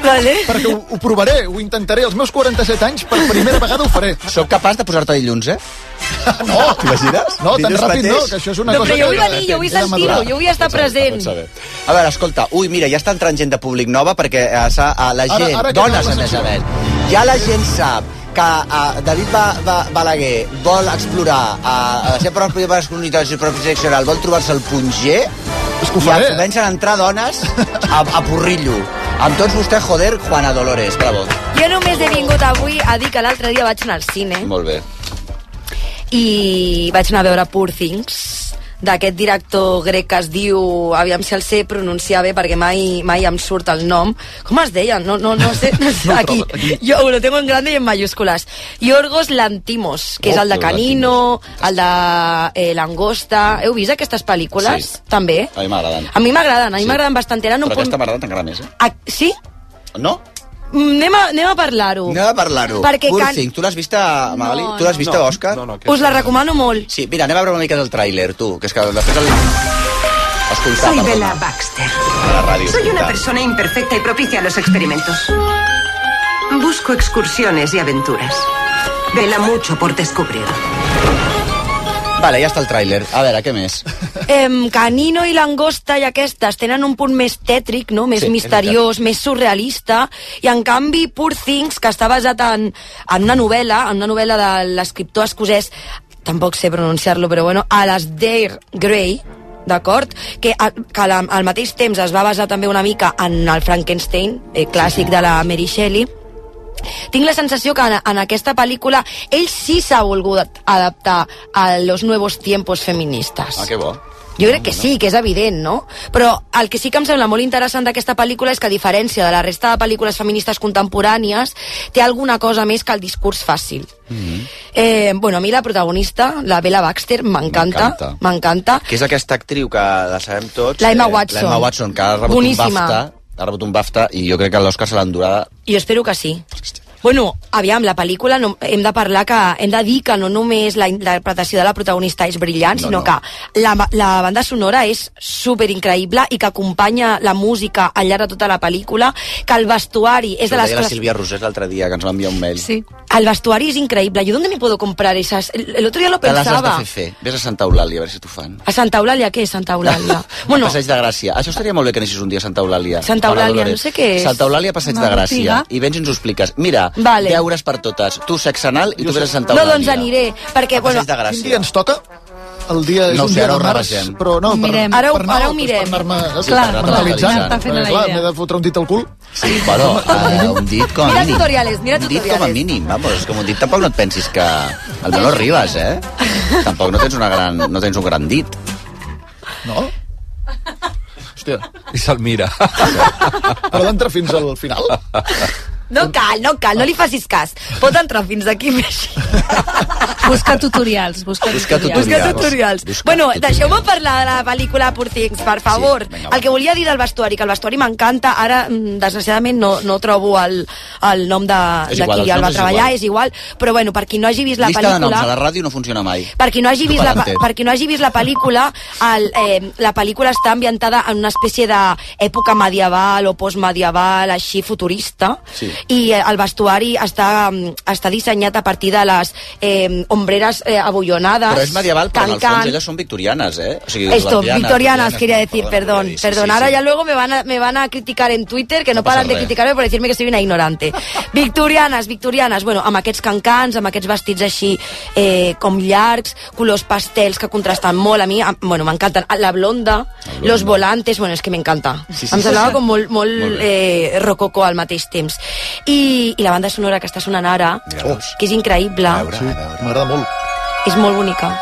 Vale.
Perquè ho, ho provaré, ho intentaré. Als meus 47 anys, per primera vegada ho faré.
Sóc capaç de posar-te dilluns, eh?
No,
T'imagines?
no tan
Dilluns
ràpid no,
mateix?
que això és una
No,
cosa...
però jo
que- eh,
vull venir, jo
que
vull
he de
sentir-ho,
madurar.
jo vull estar present.
A veure, escolta, ui, mira, ja està entrant gent de públic nova perquè eh, s'ha- a la
Ara-
gent,
ara que
dones,
acaba
a
la
més
secció.
a més, ja la gent sap que eh, David ba ba Balaguer vol explorar eh, la seva pròpia masculinitat i la pròpia sexe oral, vol trobar-se el punt G,
ho
ja
faré.
comencen a entrar dones a, a porrillo. Amb tots vostès, joder, Juana Dolores, bravo.
Jo només he vingut avui a dir que l'altre dia vaig anar al cine
Molt bé.
i vaig anar a veure Poor Things d'aquest director grec que es diu aviam si el sé pronunciar bé perquè mai, mai em surt el nom com es deia? No, no, no sé, no sé. aquí, jo ho tengo en grande i en mayúscules Yorgos Lantimos que és el de Canino, el de eh, Langosta, heu vist aquestes pel·lícules?
Sí.
també?
A mi m'agraden.
A mi m'agraden, a mi m'agraden bastant eren un
Però
punt...
aquesta m'agrada encara més, eh?
Ah, sí?
No?
Mm, Anem a, anem a parlar-ho.
Anem a parlar-ho.
Perquè
Poor
can...
Thing, tu l'has vista, Magali?
No,
tu l'has vista,
no.
Òscar? No, no,
Us la recomano molt.
Sí, mira, anem a veure una mica del tràiler, tu, que és que després el... Escoltar,
Soy
perdona,
Bella Baxter.
a la ràdio.
Soy una
escoltar.
persona imperfecta y propicia a los experimentos. Busco excursiones y aventuras. Vela mucho por descubrir.
Vale, ja està el tràiler. A veure, què més?
Em, Canino i Langosta i aquestes tenen un punt més tètric, no? més
Sí,
sí,
és
misteriós, més surrealista, i en canvi Poor Things, que està basat en, en una novel·la, en una novel·la de l'escriptor escocès, tampoc sé pronunciar-lo, però bueno, Alasdair Gray, d'acord? Que, a- que la, al mateix temps es va basar també una mica en el Frankenstein, eh, clàssic de la Mary Shelley, tinc la sensació que en, en aquesta pel·lícula ell sí s'ha volgut adaptar a los nuevos tiempos feministas.
Ah, que bo.
Jo crec que sí, que és evident, no? Però el que sí que em sembla molt interessant d'aquesta pel·lícula és que, a diferència de la resta de pel·lícules feministes contemporànies, té alguna cosa més que el discurs fàcil.
Mm-hmm.
Eh, bueno, a mi la protagonista, la Bella Baxter, m'encanta,
M'encanta.
m'encanta.
Que és aquesta actriu que la sabem tots.
La Emma Watson.
La Emma Watson, que ha rebut
Boníssima.
un BAFTA. Ha rebut un BAFTA i jo crec que l'Òscar se l'endurà...
Jo espero que sí. Bueno, aviam, la pel·lícula no, hem de parlar que hem de dir que no només la interpretació de la protagonista és brillant,
No,
no, sinó
no.
no. que la, ma- la banda sonora és super increïble i que acompanya la música al llarg de tota la pel·lícula, que el vestuari és
Això
de
ho
les
deia la Sílvia Rosés l'altre dia, que ens va enviar un mail.
Sí. El vestuari és increïble. Jo d'on me puedo comprar esas? El, el otro día lo
Te les has de
pensaba.
fer fer. Vés a Santa Eulàlia, a veure si t'ho fan.
A Santa Eulàlia, què és Santa Eulàlia?
Bueno. A Passeig de Gràcia. Això estaria molt bé que anessis un dia a Santa Eulàlia.
Santa
Mare
Eulàlia,
Dolores.
no sé què és.
Santa Eulàlia, Passeig
Una
de Gràcia.
botiga.
I vens i ens ho expliques. Mira,
Vale.
deures per totes. Tu, sexe anal, i tu vés a Santa
No,
Eulàlia.
doncs aniré, perquè,
Passeig
bueno,
de Gràcia.
Quin dia ens toca? el dia és
No ho
un
sé,
dia
ara ho
de març,
rebaixem.
però no,
Ho
per,
mirem.
per
Ara ho-
anar-
ara ho
doncs
mirem.
Per anar-me
Clar,
mentalitzant.
m'està fent
Perquè,
la
Eh, clar,
idea.
m'he de fotre un dit al cul.
Sí, bueno, eh, un dit com a
Mira
mínim.
tutoriales, mira
un dit com a
tutoriales.
mínim, vamos, és que amb un dit tampoc no et pensis que... El Manolo Ribas, eh? Tampoc no tens, una gran, no tens un gran dit.
No? Hòstia.
I se'l mira.
Però d'entrar fins al final.
No cal, no cal, no li facis cas. Pot entrar fins aquí més.
Busca tutorials, busca,
Busca
Busca
tutorials.
tutorials.
Busca
bueno,
tutorials.
deixeu-me parlar de la pel·lícula Poor Things, per favor. el que volia dir del vestuari, que el vestuari m'encanta, ara, mm, desgraciadament, no, no trobo el, el nom de,
És
de
igual,
qui
els
el va
noms és
treballar,
igual.
és igual. Però bueno, per qui no hagi vist la
Llista de noms a
pel·lícula...
la ràdio no funciona mai.
Per qui, no hagi vist la,
Dupalante.
per qui no hagi vist la pel·lícula, el, eh, la pel·lícula està ambientada en una espècie d'època medieval o postmedieval, així futurista,
Sí.
i eh, el vestuari està, mm, està dissenyat a partir de les eh, ombreres eh, abullonades.
Però és medieval, però en el fons
cancant.
elles són victorianes, eh? O sigui,
Esto, victorianas, quería decir,
perdona,
perdón,
volia dir, sí,
perdón.
sí,
Ahora
sí.
ya luego me van, a, me van a criticar en Twitter, que no,
passa
paran de
res.
criticarme por decirme que soy una ignorante. victorianes, victorianes, bueno, amb aquests cancans, amb aquests vestits així eh, com llargs, colors pastels que contrasten molt, a mi, a, bueno, m'encanten. La blonda, los volantes, bueno, és que m'encanta.
Sí, sí,
em
sí,
semblava
sí.
com molt, molt,
Molt
eh, rococó al mateix temps. I, I la banda sonora que està sonant ara, que és increïble,
Oh, Sí, M'agrada molt.
és molt bonica.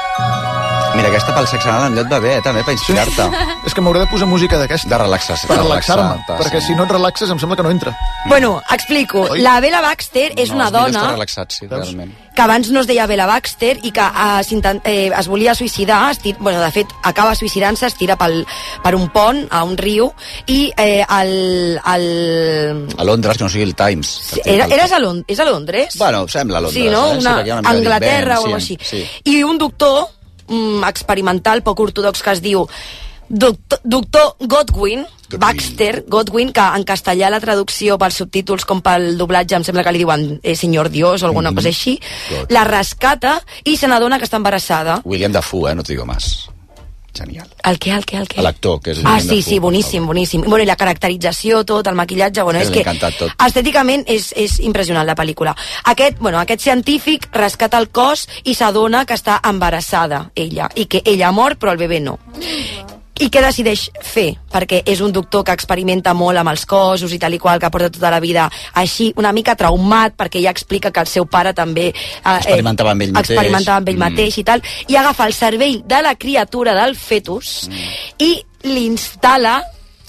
Mira, aquesta pel sexe anal em llot va bé, eh, també, per inspirar-te.
És que m'hauré de posar música d'aquesta.
De relaxar-se.
Per
de
relaxar-me,
relaxar-te,
perquè si no et relaxes em sembla que no entra.
Bueno, explico.
Oi?
La Bella Baxter és una dona...
relaxat, sí, realment.
que abans no es deia Bella Baxter i que eh, s'inten- eh, es volia suïcidar, es tir... bueno, de fet, acaba suïcidant-se, es tira pel, per un pont a un riu i eh, el, el...
A Londres, que no sigui el Times.
Era, eres a Lond és a Londres?
Bueno, sembla Londres,
sí, no?
eh?
Una,
perquè hi ha mica
Anglaterra o
d'invent,
alguna
sí,
així.
Sí.
I un doctor mm, experimental, poc ortodox, que es diu doctor, doctor Godwin, Baxter, Godwin, que en castellà la traducció pels subtítols com pel doblatge em sembla que li diuen eh, senyor Dios o
Mhm.
alguna cosa així, la rescata i se n'adona que està embarassada.
William Dafoe, eh? No te digo más. Genial.
El què, el què, el què?
L'actor, que és
Ah,
William
sí,
Dafoe,
sí, boníssim, boníssim. Bueno, i la caracterització, tot, el maquillatge, bueno,
Que
és
m'ha
que
encantat tot.
estèticament és, és impressionant la pel·lícula. Aquest, bueno, aquest científic rescata el cos i s'adona que està embarassada, ella, i que ella mor, però el bebè no. I què decideix fer? Perquè és un doctor que experimenta molt amb els cossos i tal i qual, que porta tota la vida així, una mica traumat, perquè ja explica que el seu pare també... Eh,
Experimentava amb ell mateix.
Experimentava amb ell
Mm.
mateix i tal, i agafa el cervell de la criatura, del fetus, i l'instal·la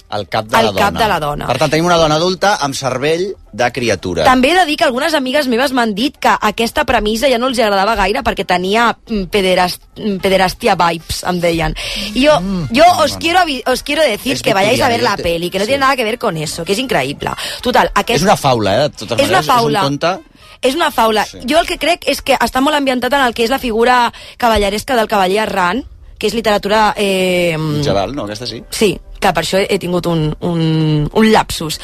El cap de
El
la dona.
cap de la dona.
Per tant, tenim una dona adulta amb cervell de criatura.
També he de dir que algunes amigues meves m'han dit que aquesta premissa ja no els agradava gaire perquè tenia mm, pederast, mm, pederastia vibes, em deien. I jo,
Mm.
jo os, quiero, avi- os quiero decir
És
que vayáis a ver
victoriana, jo
la
te-
peli, que no tiene nada que ver con eso, que és increïble. Total, aquest...
És una faula, eh? De totes
És una
maneres,
faula.
És un conte
És una faula. Sí. Jo el que crec és que està molt ambientat en el que és la figura cavalleresca del cavaller errant, que és literatura... Eh,
medieval, no? Aquesta sí.
Sí, que per això he tingut un, un, un lapsus.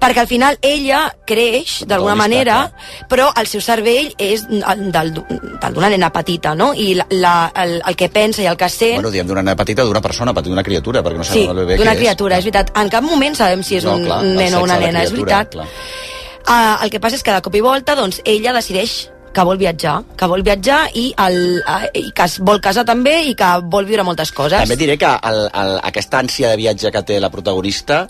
Perquè al final ella creix, d'alguna manera, però el seu cervell és el del del d'una nena petita, no? I la, la, el, el que pensa i el que sent...
Bueno, diem d'una nena petita, d'una persona, petita, d'una criatura, perquè no
sí,
sabem el bebè
d'una
què
criatura, és. veritat. En cap moment sabem si
és.
és un,
clar,
un
el
nen o
sexe
una
de la
nena, és
criatura,
veritat.
clar.
Uh, el que passa és que de cop i volta doncs, ella decideix que vol viatjar, que vol viatjar i, el, eh, i que es vol casar també i que vol viure moltes coses.
També et diré que el, el, aquesta ànsia de viatge que té la protagonista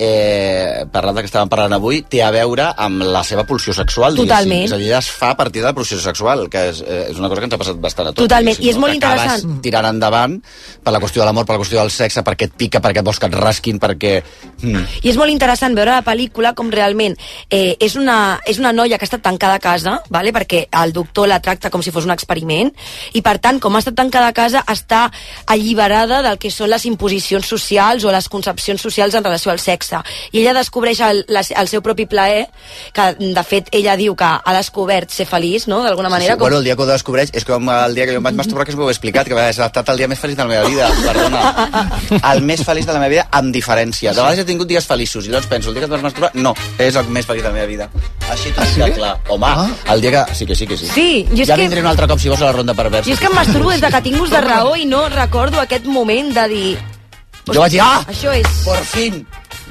eh, parlant del que estàvem parlant avui, té a veure amb la seva pulsió sexual, diguéssim.
Totalment.
És a dir, ella es fa a partir de la pulsió sexual, que és, eh, és una cosa que ens ha passat bastant a tots.
Totalment,
diguéssim,
i és molt
Que acabes
interessant.
tirant endavant per la qüestió de l'amor, per la qüestió del sexe, perquè et pica, perquè et vols que et rasquin, perquè... Mm.
I és molt interessant veure la pel·lícula com realment eh, és, una, és una noia que ha estat tancada a casa, vale? perquè el doctor la tracta com si fos un experiment, i per tant, com ha estat tancada a casa, està alliberada del que són les imposicions socials o les concepcions socials en relació al sexe. I ella descobreix el, la, el seu propi plaer, que de fet ella diu que ha descobert ser feliç, no?, d'alguna manera.
sí, Bueno, el dia que ho descobreix és com el dia que jo em vaig masturbar, que us ho heu explicat, que va ser el dia més feliç de la meva vida, perdona. El més feliç de la meva vida, amb diferència. De vegades he tingut dies feliços, i llavors penso, el dia que et vas masturbar, no, és el més feliç de la meva vida. Així t'ho sí? clar. Home, el dia que... Sí que sí, que sí.
Ah, Sí, jo és
ja
que-
vindré un altre cop, si vols, a la ronda perversa.
Jo és que em masturbo des de que tinc ús de raó i no recordo aquest moment de dir...
Jo vaig dir, ah!
Això és...
Por fin!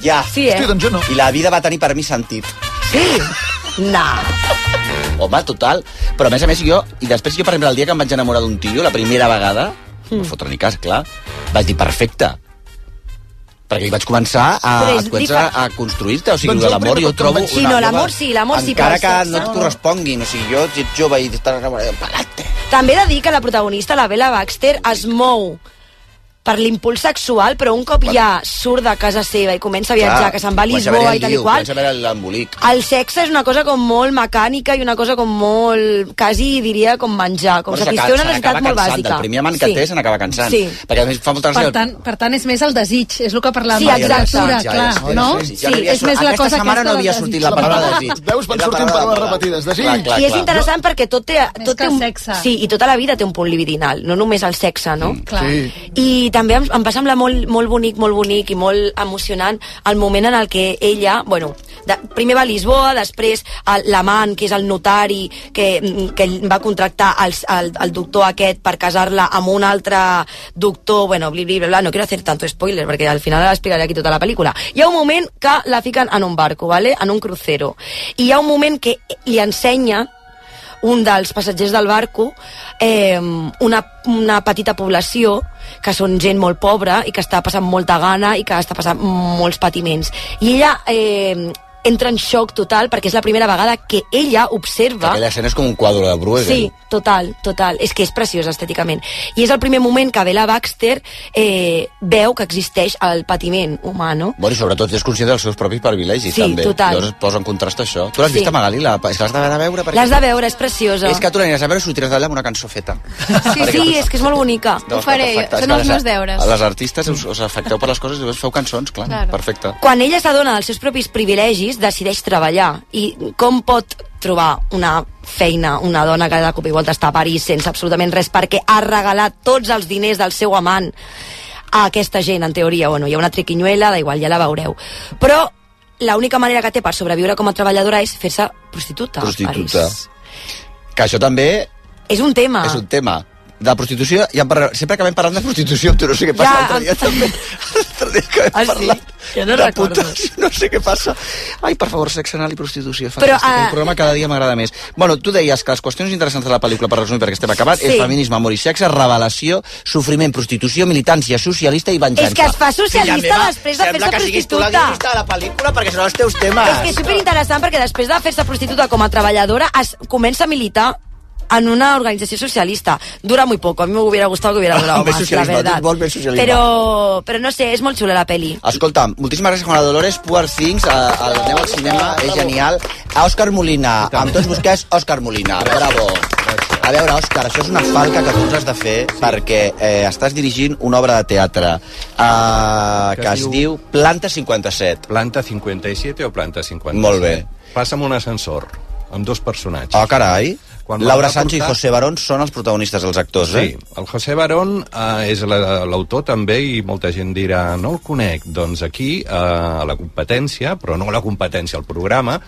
Ja.
Sí, eh? Hòstia, doncs
jo no. I la vida va tenir per mi sentit.
Sí? No.
Home, total. Però a més a més jo... I després jo, per exemple, el dia que em vaig enamorar d'un tio, la primera vegada, no em fotre ni cas, clar. Vaig dir, perfecte. Perquè vaig començar a,
Però és
començar
diferent.
a construir-te. O sigui, doncs
Doncs jo el
l'amor
primer
jo
cop que em
trobo...
vaig- Sí,
una
no,
cosa-
l'amor sí, l'amor sí,
Encara
però
que
sexe,
no et
no.
corresponguin. O sigui, jo si ets jove i t'estàs enamorant... Pelate.
També he de dir que la protagonista, la Bella Baxter, es mou per l'impuls sexual, però un cop ja surt de casa seva i comença a viatjar,
Clar,
que se'n va a
comença
Lisboa
haver-hi
i
el
tal i
lío,
qual,
Comença a veure l'embolic.
el sexe és una cosa com molt mecànica i una cosa com molt... quasi diria com menjar, com
Bueno,
satisfer una
s'acaba-
necessitat
s'acaba
molt
cansant,
bàsica.
Del primer amant que
Sí.
té se n'acaba cansant. Doncs
Sí.
Perquè a més fa molta
Per
gràcia...
tant, per tant, és més el desig, és el que parlàvem
Sí,
de
exacte.
literatura,
Ja, ja,
clar,
ja, ja, ja, ja,
no?
ja, ja,
sí,
ja, ja,
és més la
aquesta
cosa
setmana no
aquesta
havia
del
sortit
desig.
la paraula desig.
Veus, van
Era
sortint
paraula
paraules
de moda.
repetides. Desig.
Clar, clar,
I és
clar.
interessant perquè tot té, tot té
que
un,
sexe.
Sí, i tota la vida té un punt libidinal, no només el sexe, no? Mm,
clar. Sí.
I també em, em va semblar molt, molt bonic, molt bonic i molt emocionant el moment en el que ella, bueno, de, primer va a Lisboa, després el- l'amant, que és el notari que, mm, que ell va contractar el, el, el doctor aquest per casar-la amb un altre doctor, bueno, bli, bli, bla, bla, no quiero hacer tanto spoiler perquè al final explicaré aquí tota la pel·lícula. Hi ha un moment que la fiquen en un barco, ¿vale? en un crucero, i hi ha un moment que li ensenya un dels passatgers del barco eh, una, una petita població que són gent molt pobra i que està passant molta gana i que està passant molts patiments i ella eh, entra en xoc total perquè és la primera vegada que ella observa
Aquella escena és com un quadre de Bruegel.
Sí, total, total. És que és preciosa estèticament. I és el primer moment que Bella Baxter eh, veu que existeix el patiment humà, no?
Bueno, i sobretot és conscient dels seus propis privilegis,
Sí,
també.
total.
Llavors es posa en contrast això. Tu l'has
Sí.
vist, Magali? La... És que l'has d'anar a veure? Perquè...
L'has de veure, és preciosa.
És que tu l'aniràs a veure i sortiràs d'allà amb una cançó feta.
Sí, sí, és que és molt bonica.
Doncs perfecte. És que les- Les artistes us, us afecteu per les coses i després feu cançons, clar.
Claro.
Perfecte.
Quan ella s'adona dels seus propis privilegis, decideix treballar. I com pot trobar una feina, una dona que de cop i volta està a París sense absolutament res perquè ha regalat tots els diners del seu amant a aquesta gent, en teoria, bueno, hi ha una triquinyuela, da igual, ja la veureu. Però l'única manera que té per sobreviure com a treballadora és fer-se prostituta. a
Prostituta.
París.
Que això també
És un tema.
és un tema. De la prostitució, ja en parla... sempre acabem parlant de prostitució, tu no sé què passa.
Ja,
l'altre dia
em-
també. L'altre dia acabem
Ah, sí?
parlant
Ja no
de
recordo.
putes, no sé què passa. Ai, per favor, sexe anal i prostitució.
Però,
Però, uh...
ah,
El programa cada dia m'agrada més. Bueno, tu deies que les qüestions interessants de la pel·lícula, per resumir, perquè estem acabat,
Sí.
és feminisme, amor i sexe, revelació, sofriment, prostitució, militància socialista i venjança.
És que es fa socialista
Filla meva,
després de
sembla
fer-se
que siguis tu la
prostituta.
guionista de la pel·lícula perquè són els teus temes.
És que és superinteressant perquè després de fer-se prostituta com a treballadora es comença a militar en una organizació socialista. Dura muy poco. A mí me hubiera gustado que hubiera durado
Més
más, la
socialisme, tu
verdad.
vols més socialisme.
Però, però no sé, és molt xula la peli.
Escolta, moltíssimes gràcies, Juana Dolores, Poor Things, a, a, aneu al cinema, és genial. A Òscar Molina, amb tots vostès, Òscar Molina, bravo. A veure, Òscar, això és una falca que tu ens has de fer perquè eh, estàs dirigint una obra de teatre eh, que, es diu Planta 57.
Planta 57 o planta 57.
Molt bé.
Passa amb un ascensor, amb dos personatges.
Oh, carai.
Quan la
Laura
va
Sancho i
portar-
José Barón són els protagonistes, els actors,
Sí,
eh?
el José Barón eh, és la- l'autor també i molta gent dirà no el conec, doncs aquí eh, a la competència, però no a la competència al programa,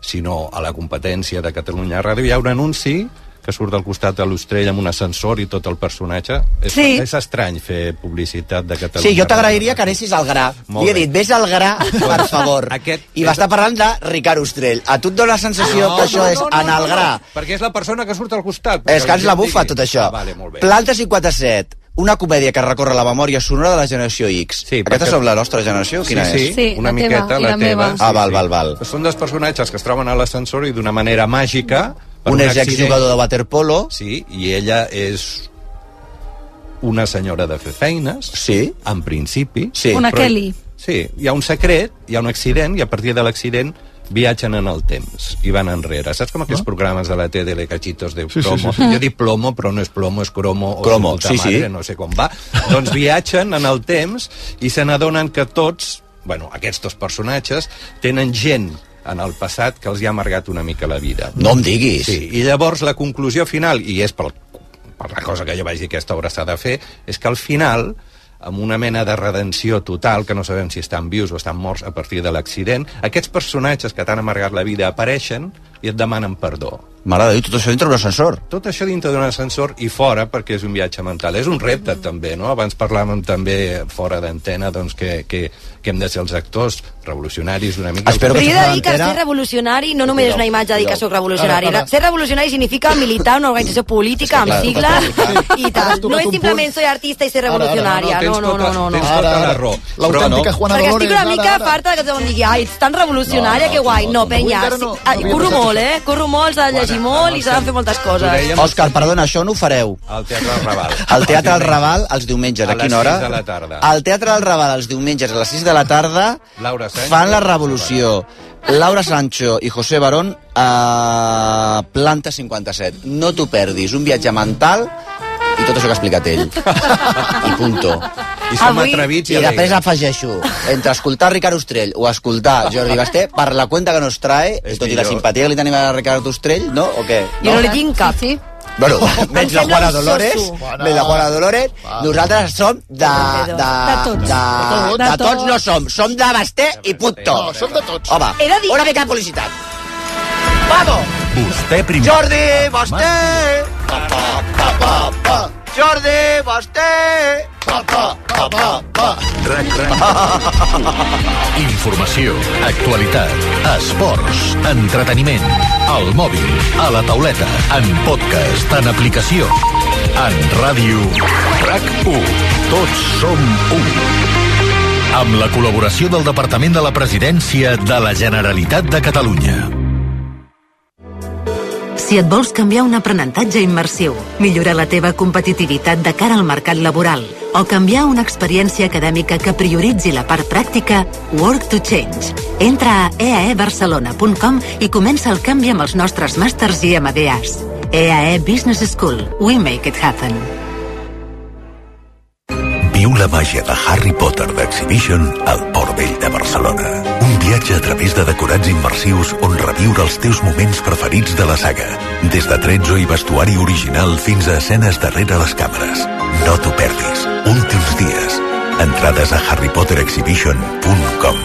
sinó a la competència de Catalunya Ràdio, hi ha un anunci que surt del costat de l'Ostrell amb un ascensor i tot el personatge. És,
Sí.
és estrany fer publicitat de Catalunya
Sí, jo
Ràdio.
t'agrairia que anessis al gra.
Molt
Li he
bé.
dit, vés al gra, per favor.
Aquest
I va estar parlant de Ricard Ostrell. A tu et dóna la sensació
Ah,
Ah,
que això és en el gra.
Perquè és la persona que surt al costat.
És que ens la
Digui.
bufa, tot això.
Ah, vale, molt bé.
Planta 57, una comèdia que recorre la memòria sonora de la generació X. Sí, Aquesta
perquè-
és la nostra generació? Quina
sí, sí,
és?
una
la teva
miqueta
i
la,
la
teva.
meva.
Ah, val, val, val.
Són dos personatges que es troben a l'ascensor i d'una manera màgica... per
Un és
accident-
exjugador de waterpolo.
Sí, i ella és una senyora de fer feines,
sí.
en principi.
Sí.
Una Kelly.
Sí, hi ha un secret, hi ha un accident, i a partir de l'accident viatgen en el temps i van enrere. Saps com
Ah.
aquests programes de la tele de cachitos de
Sí, sí,
promo?
sí, sí.
Jo dic plomo, però no és plomo, és cromo. o
Cromo,
su puta
sí, sí.
madre, No sé com va. doncs viatgen en el temps i se n'adonen que tots, bueno, aquests dos personatges, tenen gent en el passat que els hi ha amargat una mica la vida.
No em diguis.
Sí, i llavors la conclusió final, i és pel, per la cosa que jo vaig dir que aquesta obra s'ha de fer, és que al final, amb una mena de redenció total, que no sabem si estan vius o estan morts a partir de l'accident, aquests personatges que t'han amargat la vida apareixen i et demanen perdó.
M'agrada dir Ah, tot això dintre d'un ascensor.
Tot això dintre d'un ascensor i fora, perquè és un viatge mental. És un
Mm.
repte, també, no? Abans parlàvem també fora d'antena doncs, que, que, que hem de ser els actors revolucionaris una mica.
Però jo he de dir que ser revolucionari no només és una imatge de dir que sóc revolucionari.
Ara, ara.
Ser revolucionari significa militar en una organització política amb
clar,
sigles i
Has
tal.
tocat
No
un
és simplement soy artista i ser revolucionària. No, no, no, no. no.
Tens tota la raó.
L'autèntica
però
Juana
Perquè
Dolores.
estic una
ara,
mica
ara.
farta de que tothom digui ai, ets tan revolucionària, que guai. No, penya,
encara no- no
sí, ah,
havia
corro
pensat
molt,
això.
eh? Corro molt, s'ha de llegir molt i s'ha de fer moltes coses.
Òscar, perdona, això no ho fareu.
Al Teatre del Raval.
Al Teatre al Raval, els diumenges,
A
a,
les
quina hora?
sis de la tarda.
Al Teatre al Raval, els diumenges, a les 6 de la tarda,
Laura Sánchez.
fan la revolució. Laura Sancho i José Barón a Planta 57. No t'ho perdis, un viatge mental i tot això que ha explicat ell. I punto.
I som Avui- atrevits i
I
alegres.
després afegeixo, entre escoltar Ricard Ostrell o escoltar Jordi Basté, per la cuenta que nos trae, tot i la
millor.
simpatia que li tenim a Ricard Ostrell, no? O què?
Jo no li tinc cap. Sí,
Bueno,
Em
menys la
sembla
Juana
un
Dolores,
soso.
menys la Juana Dolores, nosaltres som de... De,
tots.
De,
De
de tots
tots.
no som, som de Basté i punto. No, som de tots. Home,
He de dir-
una mica de publicitat. Vamos!
Vostè primer.
Jordi, Basté! Pa, pa, pa, pa, pa. Jordi, Basté! Pa, pa, pa, pa, pa.
Rac, rac. Informació, actualitat, esports, entreteniment, al mòbil, a la tauleta, en podcast, en aplicació, en ràdio. RAC1. Tots som un. Amb la col·laboració del Departament de la Presidència de la Generalitat de Catalunya.
Si et vols canviar un aprenentatge immersiu, millorar la teva competitivitat de cara al mercat laboral o canviar una experiència acadèmica que prioritzi la part pràctica, Work to Change. Entra a eaebarcelona.com i comença el canvi amb els nostres màsters i MBAs. EAE E Business School. We make it happen.
Viu la màgia de Harry Potter d'Exhibition al Port Vell de Barcelona. Un viatge a través de decorats immersius on reviure els teus moments preferits de la saga. Des de tretzo i vestuari original fins a escenes darrere les càmeres. No t'ho perdis. Últims dies. Entrades a harrypoterexhibition.com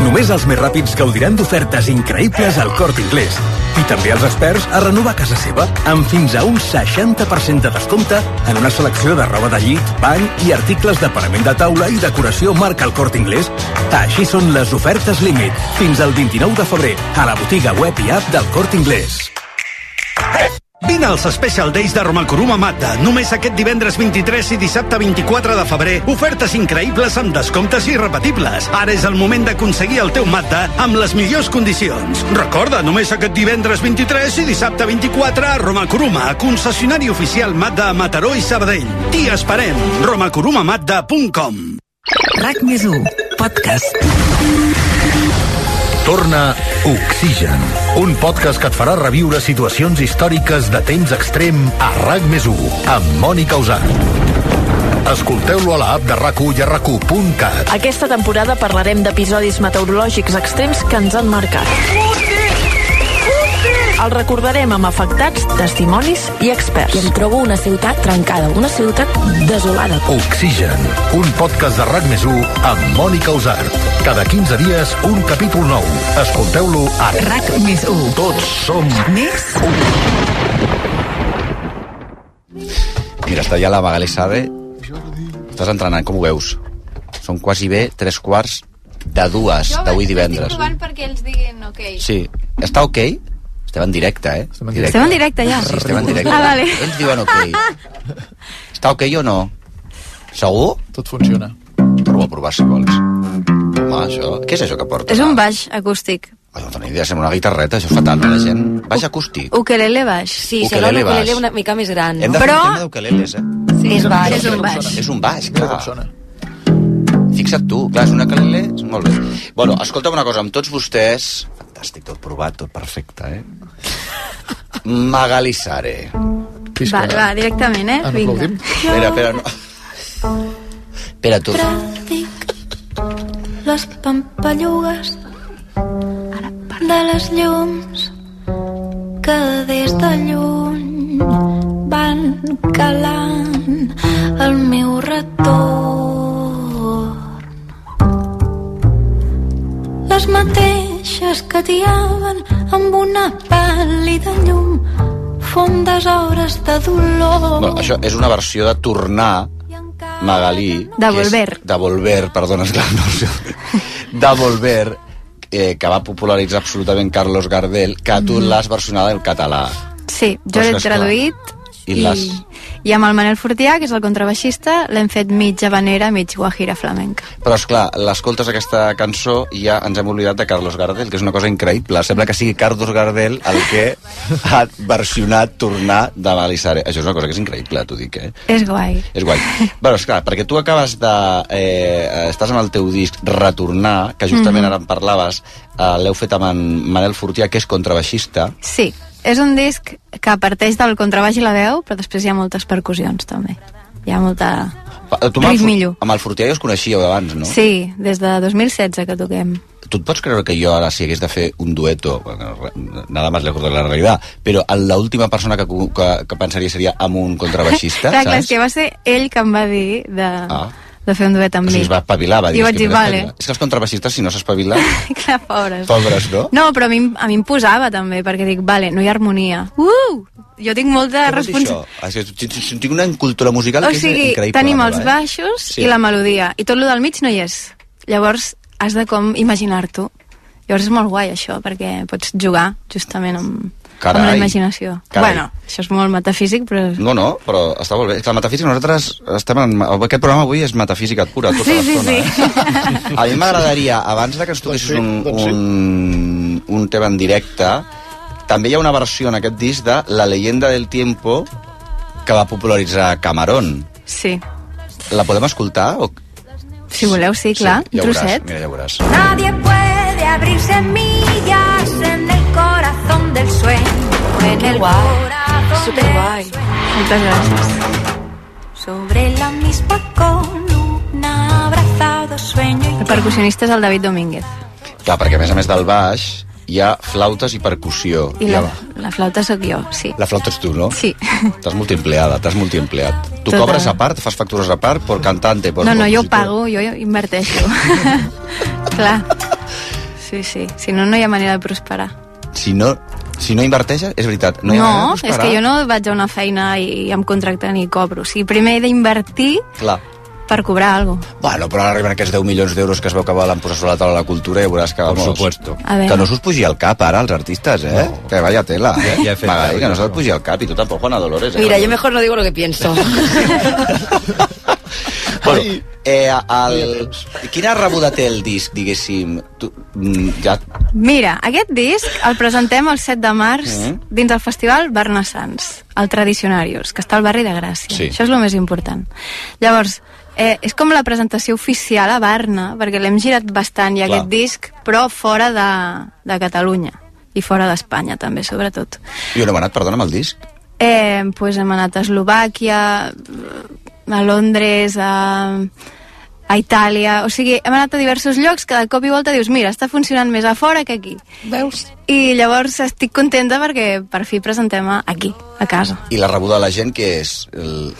Només els més ràpids gaudiran d'ofertes increïbles al Corp Inglés. I també els experts a renovar casa seva amb fins a un 60% de descompte en una selecció de roba de llit, bany i articles de parament de taula i decoració marca el Corp Inglés. Així són les ofertes límit fins al 29 de febrer a la botiga web i app del Corp Inglés.
Vine als Special Days de Romacoruma Mazda. Només aquest divendres 23 i dissabte 24 de febrer. Ofertes increïbles amb descomptes irrepetibles. Ara és el moment d'aconseguir el teu Mazda amb les millors condicions. Recorda, només aquest divendres 23 i dissabte 24 a Romacoruma, concessionari oficial Mazda a Mataró i Sabadell. T'hi esperem. romacorumamazda.com
RAC més 1. Podcast.
Torna Oxigen, un podcast que et farà reviure situacions històriques de temps extrem a RAC més 1, amb Mònica Usant. Escolteu-lo a l'app de RAC1 i a RAC1.cat.
Aquesta temporada parlarem d'episodis meteorològics extrems que ens han marcat. El recordarem amb afectats, testimonis i experts. I em trobo una ciutat trencada, una ciutat desolada.
Oxigen, un podcast de RAC més 1 amb Mònica Usart. Cada 15 dies, un capítol nou. Escolteu-lo a
RAC més 1.
Tots som
més
Mira, està ja la Magali Sade. Estàs entrenant, com ho veus? Són quasi bé tres quarts de dues d'avui divendres.
Estic provant perquè els diguin ok.
Sí. Està ok? Estem en directe, eh? Estem en
Estem en directe, ja.
Sí, estem en directe.
Ah, vale.
Ells diuen ok. Està ok o no? Segur? Tot funciona. Torna a provar si vols. Home, això... Què és això que porta?
És un baix acústic.
No tenia idea, sembla una guitarreta, això és fatal per la gent. Baix
Oh,
acústic.
Ukelele baix.
sí
Ukelele
sembla un
baix.
ukelele una mica més gran.
Hem de fer
Però
un tema d'ukeleles, eh?
Sí, és baix. És un baix.
És un baix, clar. Fixa't tu, clar, és una calile, és molt bé. Bueno, escolta'm una cosa, amb tots vostès... Fantàstic, tot provat, tot perfecte, eh? Magali Sare.
Va, va, directament,
Ah,
eh? Vinga.
Espera, espera, no. Espera, tu.
les pampallugues de les llums que des de lluny van calant el meu retorn. Les mateixes mateixes que tiaven amb una pàl·lida llum fondes hores de dolor
No, això és una versió de tornar Magalí.
De
que és-
volver.
De volver, perdona, esclar, no sé. De volver, eh, que va popularitzar absolutament Carlos Gardel, que
Mm-hmm.
tu l'has versionada en català.
Sí, jo
Però és
l'he
que, esclar,
traduït
I
i,
l'has...
i amb el Manel Fortià, que és el contrabaixista, l'hem fet mig habanera, mig guajira flamenca.
Però, és clar, l'escoltes aquesta cançó i ja ens hem oblidat de Carlos Gardel, que és una cosa increïble. Sembla que sigui Carlos Gardel el que ha versionat tornar de Malissare. Això és una cosa que és increïble, t'ho dic, eh?
És guai.
És guai. bueno, esclar, perquè tu acabes de... Eh, estàs amb el teu disc Retornar, que justament
Mhm.
ara en parlaves, eh, l'heu fet amb en Manel Fortià, que és contrabaixista.
Sí, és un disc que parteix del contrabaix i la veu, però després hi ha moltes percussions, també. Hi ha molta...
Pa- Tu amb el,
Lluís Millo.
Fort- amb el Fortià ja us coneixíeu d'abans, no?
Sí, des de 2016 que toquem.
Tu et pots creure que jo ara, si hagués de fer un dueto, bueno, re- nada más lejos de la realidad, però en l'última persona que, cu- que, que pensaria seria amb un contrabaixista,
clar, clar, és
saps?
que va ser ell que em va dir de, ah.
Ah,
de fer un duet
o
amb
sigui,
mi.
es va espavilar, va dir...
I vaig
"És que
dir,
m'he d'espavilar".
vale.
És que els contrabaixistes, si no s'espavilen,
clar, pobres.
pobres, no?
No, però a mi, a mi em posava també, perquè dic, vale, no hi ha harmonia. Uh! Jo tinc molta
Què vol dir
responsabilitat.
Això? Ah, Això, tinc- tinc- tinc una cultura musical
O
que és
sigui,
increïble.
tenim
la
els
meva, eh?
baixos
Sí.
sí. i la melodia, i tot lo del mig no hi és. Llavors, has de com imaginar-t'ho. Llavors és molt guai això, perquè pots jugar justament amb, amb la
Carai.
imaginació.
Carai.
Bueno, això és molt metafísic, però...
No, no, però està molt bé. És que la metafísica, nosaltres estem en... Aquest programa avui és metafísica pura, tota
Sí, sí, sí.
l'estona. Eh? A mi m'agradaria, abans de que ens toquessis un, un, un tema en directe, també hi ha una versió en aquest disc de La leyenda del tiempo que va popularitzar Cameron.
Sí,
La podem escoltar? O...
si voleu, sí, clar,
Ja
un
ho veuràs,
trosset.
mira, ja ho veuràs.
Nadie puede abrir semillas en el corazón del sueño. En el corazón del
Moltes gràcies.
Sobre la misma columna abrazado sueño.
El percussionista és el David Domínguez.
Clar, perquè a més a més del baix hi ha flautes i percussió.
I la,
la,
la flauta sóc jo, sí.
la flauta ets tu, no?
Sí.
T'has multiempleada, t'has multiempleat. Tu
Tota.
cobres a part, fas factures a part, por cantante, por...
no, no, jo pago, jo inverteixo. clar. Sí, sí. Si no, no hi ha manera de prosperar.
Si no, si no inverteixes, és veritat. No, hi ha manera de
No, és
prosperar.
que jo no vaig a una feina i em contracten i cobro. O sigui, primer he d'invertir
Clar.
per cobrar alguna cosa.
Bueno, però ara arriben aquests 10 milions d'euros que es veu que volen posar sobre la taula de la cultura i veuràs que... Vamos, supuesto.
A veure.
Que no s'us pugi al cap ara, els artistes, eh? No. Que vaya tela. Ja, ja
fet
Magali, que no s'ha de pugi al cap, i tu tampoc, Juana Dolores. Eh?
Mira, yo mejor no digo lo que pienso.
Bueno, eh, el... Quina rebuda té el disc, diguéssim? Tu, mm, ja...
Mira, aquest disc el presentem el 7 de març
Mm.
Mhm.
dins del festival Barna Sants, al Tradicionarius, que està al barri de Gràcia.
Sí.
Això és el més important. Llavors, eh, és com la presentació oficial a Barna, perquè l'hem girat bastant, i
Clar.
aquest disc, però fora de, de Catalunya i fora d'Espanya també, sobretot.
Jo no he anat, perdona, amb el disc.
Eh, pues hem anat a Eslovàquia, a Londres, a, a Itàlia... O sigui, hem anat a diversos llocs que de cop i volta dius mira, està funcionant més a fora que aquí. Veus? I llavors estic contenta perquè per fi presentem a- aquí, a casa.
I la rebuda de la gent, que és... El...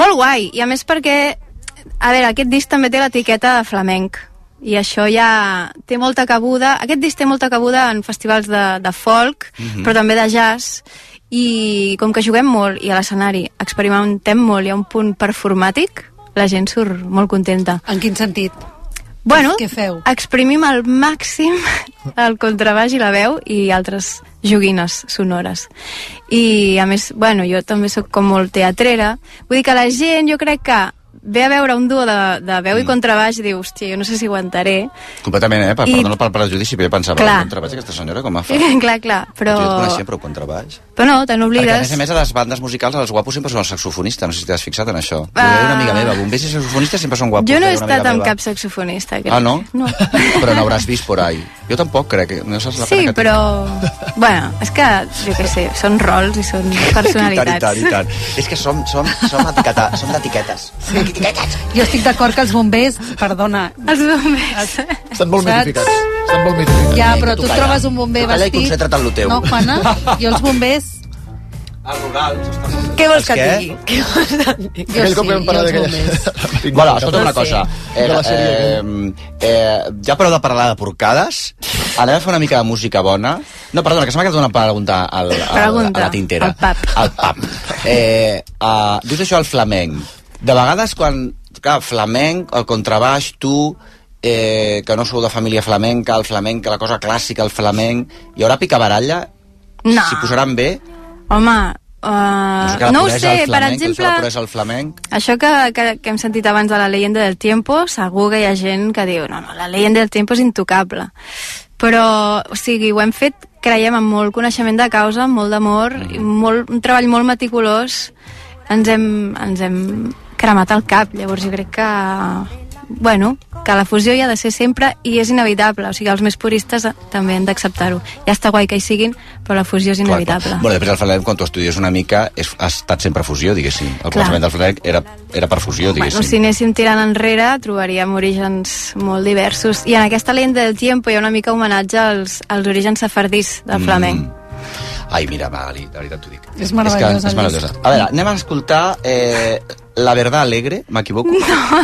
Molt guai, i a més perquè... A veure, aquest disc també té l'etiqueta de flamenc i això ja té molta cabuda aquest disc té molta cabuda en festivals de, de folk,
Mhm.
però també de jazz i com que juguem molt i a l'escenari experimentem molt hi ha un punt performàtic la gent surt molt contenta En quin sentit? Bueno, Què feu? exprimim al màxim el contrabaix i la veu i altres joguines sonores i a més, bueno, jo també sóc com molt teatrera, vull dir que la gent jo crec que ve a veure un duo de, de veu i
Mm.
contrabaix i diu, hòstia, jo no sé si aguantaré
Completament, eh? Per,
I-
Perdona pel prejudici, però jo pensava,
Clar.
Clar. contrabaix aquesta senyora com a fa?
clar, clar, però,
Jo et coneixia, però contrabaix.
però no, te
Perquè, a més
n'oblides
a més, a les bandes musicals, els guapos sempre són els saxofonistes, no sé si t'has fixat en això. Uh...
Ah.
Una amiga meva, bombers i saxofonistes sempre són guapos.
jo no he
deia una amiga
estat amb
meva.
cap saxofonista crec.
Ah, no?
no.
Però n'hauràs vist por ahí. Jo tampoc crec, que no saps la
sí,
pena que
però bueno, és que, jo què sé, són rols i són personalitats
I tant, i tant, i tant. És que som, som, som, etiqueta, som d'etiquetes. Sí.
Jo estic d'acord que els bombers, perdona...
Els bombers...
Estan
molt mitificats. Estan molt mitificats.
Ja, però tu trobes un bomber
Calla i
vestit...
concentra't en lo teu.
No, Juana, jo els bombers...
Què vols que
Què?
et digui? Què vols que et digui?
Jo sí, jo els bombers.
Bueno, escolta una
No sé.
cosa. Eh,
De la sèrie,
eh, eh, ja pareu de parlar de porcades Anem a fer una mica de música bona. No, perdona, que se m'ha quedat una pregunta, al, al,
Pregunta.
a la tintera.
Al pap.
Al pap. Eh, uh, dius això al flamenc. De vegades quan... Clar, flamenc, el contrabaix, tu, eh, que no sou de família flamenca, el flamenc, la cosa clàssica, el flamenc... Hi haurà picabaralla?
No,
S'hi posaran bé?
home, uh,
la
no ho
puresa
sé,
del
per
flamenc,
exemple...
La puresa del flamenc.
Això que, que, que hem sentit abans de la leyenda del tiempo, segur que hi ha gent que diu no, no, la leyenda del tiempo és intocable. Però, o sigui, ho hem fet, creiem, amb molt coneixement de causa, amb molt d'amor, i molt, un treball molt meticulós. Ens hem, ens hem cremat el cap, llavors jo crec que... Bueno, que la fusió hi ha de ser sempre i és inevitable, o sigui, els més puristes eh, també han d'acceptar-ho. Ja està guai que hi siguin, però la fusió és inevitable.
Bueno, després el flamenc, quan tu estudies una mica, és, ha estat sempre fusió, diguéssim. El
Clar.
començament del flamenc era, era per fusió,
Bueno,
diguéssim.
si anéssim tirant enrere trobaríem orígens molt diversos i en aquesta lenta del tiempo hi ha una mica homenatge als, als orígens sefardís del
Mm.
flamenc.
Ai, mira, Magali, de veritat t'ho dic.
És meravellosa,
És, que, és meravellosa.
Lluís.
A veure, anem a escoltar eh, La verdad alegre, m'equivoco?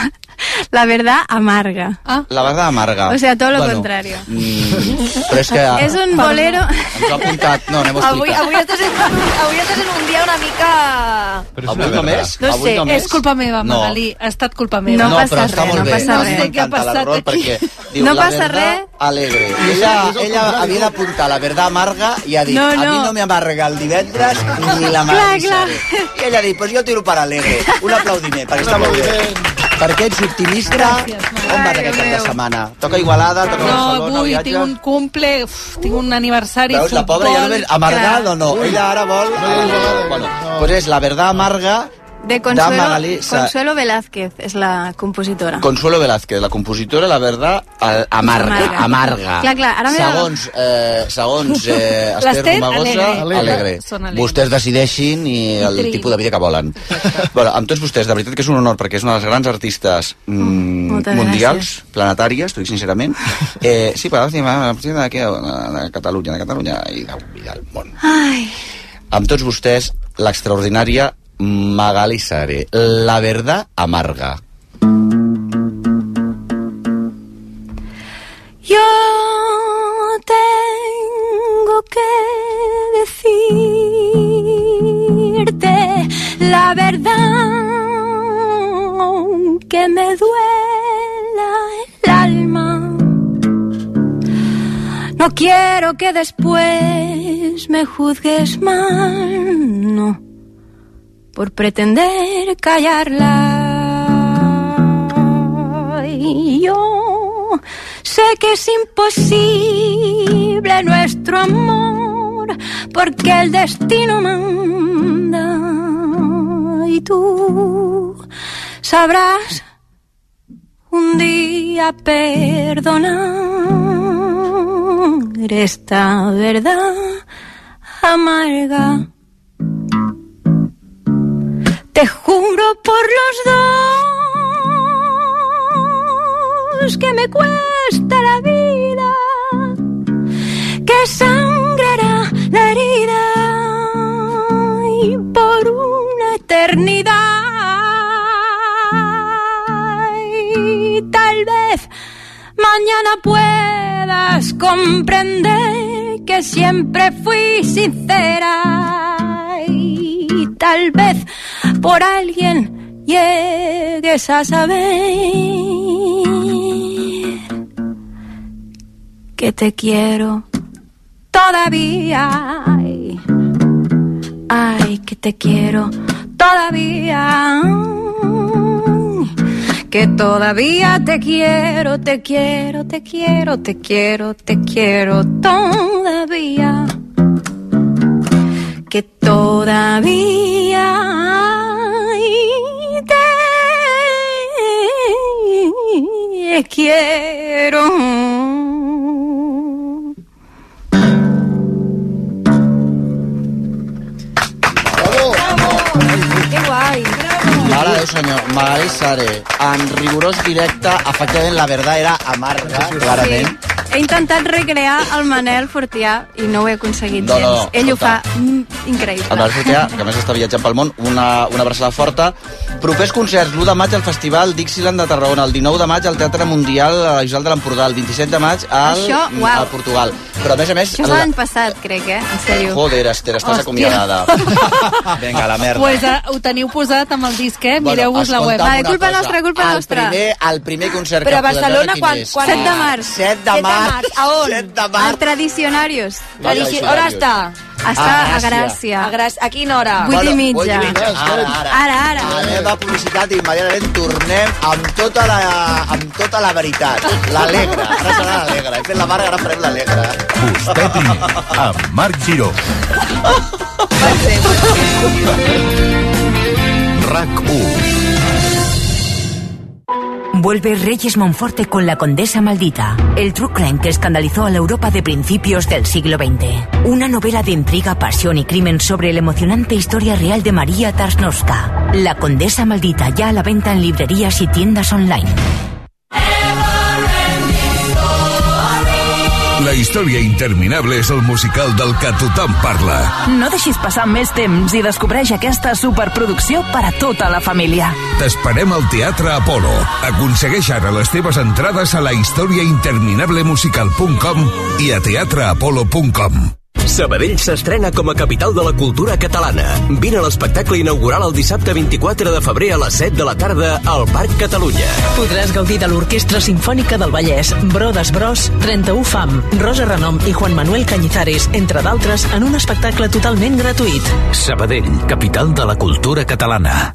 No, la verdad amarga. Ah.
La verdad amarga.
O sea, todo lo
Bueno,
contrario.
Mm, però és que...
És un bolero...
Ens ho ha apuntat. No, anem a
Avui,
explicar.
avui, estàs en, avui estàs en un dia una mica...
Avui, avui només?
No
avui
sé,
només?
és culpa meva,
No.
Magalí. Ha estat culpa meva.
no, però està molt bé.
passa
a mi
res.
m'encanta
No sé què ha
l'error
passat aquí.
perquè diu
No
la
passa
verdad
res.
alegre. I Ella,
És el
ella
contrari.
havia d'apuntar la verdad amarga i ha dit
No,
a mi
no.
no m'amarga el divendres ni la
Clar,
Marisa.
clar.
I ella ha dit, pues jo tiro per alegre. Un aplaudiment, perquè està molt bé. Perquè ets optimista. On vas aquest cap de setmana? Toca Igualada, toca
No,
Barcelona,
avui
viatges?
tinc un cumple, uf, tinc un aniversari,
Veus, la pobra ja no ve amargada o no? Ella ara vol... Bueno, pues és la verdad amarga
De
Da
Consuelo,
Magalí, sa-
Consuelo Velázquez és la compositora.
Consuelo Velázquez, la compositora, la verdad, al- amarga, amarga.
Amarga. Clar, clar, ara m'he de-
segons, eh, segons eh, Esther
L'Ester,
Romagosa,
alegre.
alegre.
Són
alegre.
alegres.
Vostès decideixin i el
Triïn.
tipus de vida que volen. bueno, amb tots vostès, de veritat que és un honor, perquè és una de les grans artistes mm,
moltes
mundials, planetàries, t'ho dic sincerament. Eh, sí, però la prima d'aquí, de, de Catalunya, de Catalunya i del, i del món.
Ai,
Amb tots vostès, l'extraordinària Magali Sare, la verdad amarga.
Yo tengo que decirte la verdad, aunque me duela el alma. No quiero que después me juzgues mal, no, por pretender callarla. Y yo sé que es imposible nuestro amor, porque el destino manda. Y tú sabrás un día perdonar esta verdad amarga. Te juro por los dos que me cuesta la vida, que sangrará la herida y por una eternidad. Y tal vez mañana puedas comprender que siempre fui sincera y tal vez por alguien llegues a saber que te quiero todavía. Ay, ay, que te quiero todavía. Que todavía te quiero, te quiero, te quiero, te quiero, te quiero todavía. Que todavía ay, te quiero.
Que guai.
Mare de Déu, senyor, Magali Sare, en rigorós directe, efectivament, la verdad era amarga, clarament.
He intentat recrear el Manel Fortià i no ho he aconseguit
No, no,
gens. Ell ho
escolta.
fa mm, increïble.
El Marc Fortià, que a més està viatjant pel món, una, una abraçada forta. Propers concerts, l'1 de maig al Festival Dixieland de Tarragona, el 19 de maig al Teatre Mundial a la Isla de l'Empordà, el 27 de maig al,
Això, uau.
a Portugal. Però a més a més...
Això és
La...
l'any passat, crec, eh? En sèrio.
Joder, Esther, estàs
Hòstia.
acomiadada. Vinga, la merda.
Pues, eh, ho teniu posat amb el disc, eh? Mireu-vos la
escolta'm
web.
una cosa. el Primer, el primer concert
Però
que
a
podràs
Barcelona
veure
quan-
quin és?
quan-
7 de març.
7 de març.
A on?
7 de març.
Al Tradicionarios.
Vale, Tradici- on Tradicionarios. està?
Està
A
a
Gràcia.
Gràcia. A,
Gràcia. a quina hora?
Vuit i mitja.
Ah, vuit i mitja. Ara, ara.
Ara, ara.
Anem a publicitat i immediatament tornem amb tota la, amb tota la veritat. L'alegre. Ara serà l'alegre. Hem fet la marga, ara farem l'alegre.
Busteti amb Marc Giró.
RAC 1. Vuelve Reyes Monforte con La Condesa Maldita, el true crime que escandalizó a la Europa de principios del siglo XX. Una novela de intriga, pasión y crimen sobre la emocionante historia real de María Tarsnowska. La Condesa Maldita, ya a la venta en librerías y tiendas online.
La història interminable és el musical del que tothom parla.
No deixis passar més temps i descobreix aquesta superproducció per a tota la família.
T'esperem al Teatre Apolo. Aconsegueix ara les teves entrades a la historiainterminablemusical.com i a teatreapolo.com.
Sabadell s'estrena com a capital de la cultura catalana. Vine a l'espectacle inaugural el dissabte 24 de febrer a les 7 de la tarda al Parc Catalunya.
Podràs gaudir de l'Orquestra Simfònica del Vallès, Brodes Bros, 31 Fam, Rosa Renom i Juan Manuel Cañizares, entre d'altres, en un espectacle totalment gratuït.
Sabadell, capital de la cultura catalana.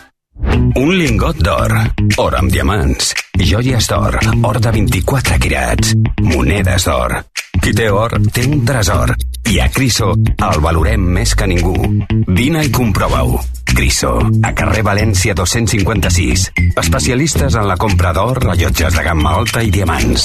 Un lingot d'or, or amb diamants, joies d'or, or de 24 quirats, monedes d'or. Qui té or té un tresor i a Criso el valorem més que ningú. Vine i comprova-ho. Criso, a carrer València 256. Especialistes en la compra d'or, rellotges de gamma alta i diamants.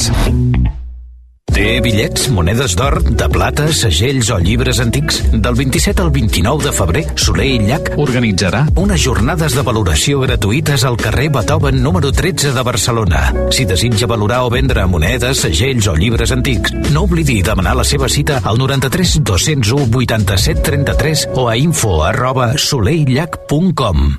Té bitllets, monedes d'or, de plata, segells o llibres antics? Del 27 al 29 de febrer, Soler i Llach organitzarà unes jornades de valoració gratuïtes al carrer Beethoven número 13 de Barcelona. Si desitja valorar o vendre monedes, segells o llibres antics, no oblidi demanar la seva cita al 93 201 87 33 o a info arroba soleirllach.com.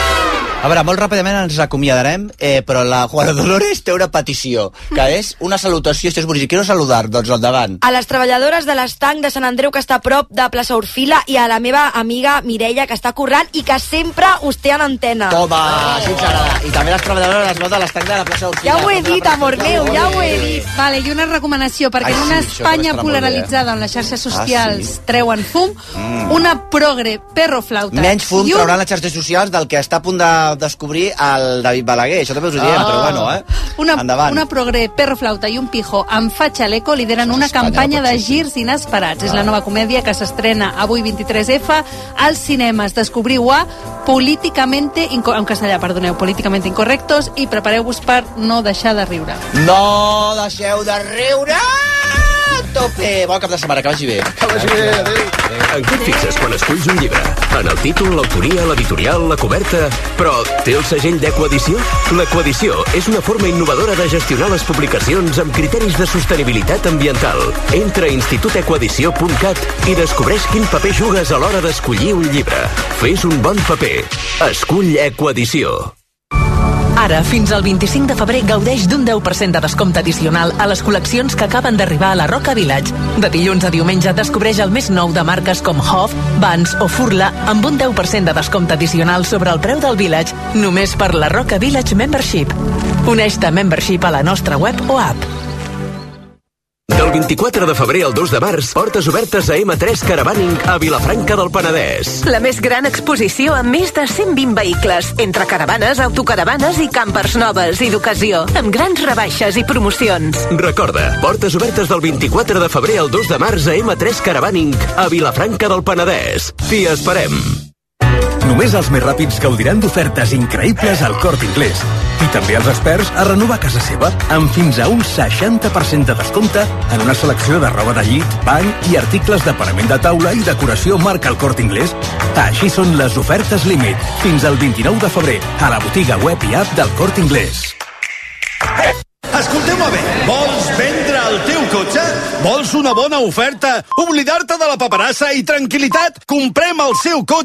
A veure, molt ràpidament ens acomiadarem, eh, però la Juana Dolores té una petició, que és una salutació, això és boníssim. Quiero saludar, doncs endavant.
A les treballadores de l'estanc de Sant Andreu que està a prop de plaça Orfila i a la meva amiga Mireia que està currant i que sempre us té en antena.
Toma, així ens agrada. I també les treballadores no, de l'estanc de la plaça Orfila.
Ja ho he dit, amor meu, ja ho he dit.
Vale, i una recomanació, perquè
eh? Ai,
en
sí,
una
això també
Espanya
estarà molt bé,
polaritzada on les xarxes
Ah,
socials
sí?
treuen fum,
Mm.
una progre perroflauta
Menys fum
i un
trauran les xarxes socials del que està a punt de descobrir el David Balaguer. Això també us ho diem,
Ah.
però bueno, eh?
Una,
Endavant.
una progre perroflauta i un pijo amb fa xaleco lideren una
Espanya no
campanya
pot
de girs inesperats. És la
Ah.
nova comèdia que s'estrena avui 23F als cinemes. Descobriu a políticamente, inco- en castellà, perdoneu, políticamente incorrectos i prepareu-vos per no deixar de riure.
No deixeu de riure! tope. Bon cap de setmana, que vagi bé. Que vagi bé, adéu.
En què et fixes quan esculls un llibre? En el títol, l'autoria, l'editorial, la coberta... Però té el segell d'Ecoedició? L'Ecoedició és una forma innovadora de gestionar les publicacions amb criteris de sostenibilitat ambiental. Entra a institutecoedició.cat i descobreix quin paper jugues a l'hora d'escollir un llibre. Fes un bon paper. Escull Ecoedició.
Ara, fins al 25 de febrer, gaudeix d'un 10% de descompte addicional a les col·leccions que acaben d'arribar a la Roca Village. De dilluns a diumenge descobreix el més nou de marques com Hof, Vans o Furla amb un 10% de descompte addicional sobre el preu del Village, només per la Roca Village Membership. Uneix-te a Membership a la nostra web o app.
Del 24 de febrer al 2 de març, portes obertes a M3 Caravaning a Vilafranca del Penedès.
La més gran exposició amb més de 120 vehicles, entre caravanes, autocaravanes i campers noves i d'ocasió, amb grans rebaixes i promocions.
Recorda, portes obertes del 24 de febrer al 2 de març a M3 Caravaning a Vilafranca del Penedès. T'hi esperem.
Només els més ràpids gaudiran d'ofertes increïbles al Corte Inglés. I també els experts a renovar casa seva amb fins a un 60% de descompte en una selecció de roba de llit, bany i articles de parament de taula i decoració marca el Corte Inglés. Així són les ofertes límit fins al 29 de febrer a la botiga web i app del Corte Inglés.
Escolteu-me bé, vols vendre el teu cotxe? Vols una bona oferta? Oblidar-te de la paperassa i tranquil·litat? Comprem el seu cotxe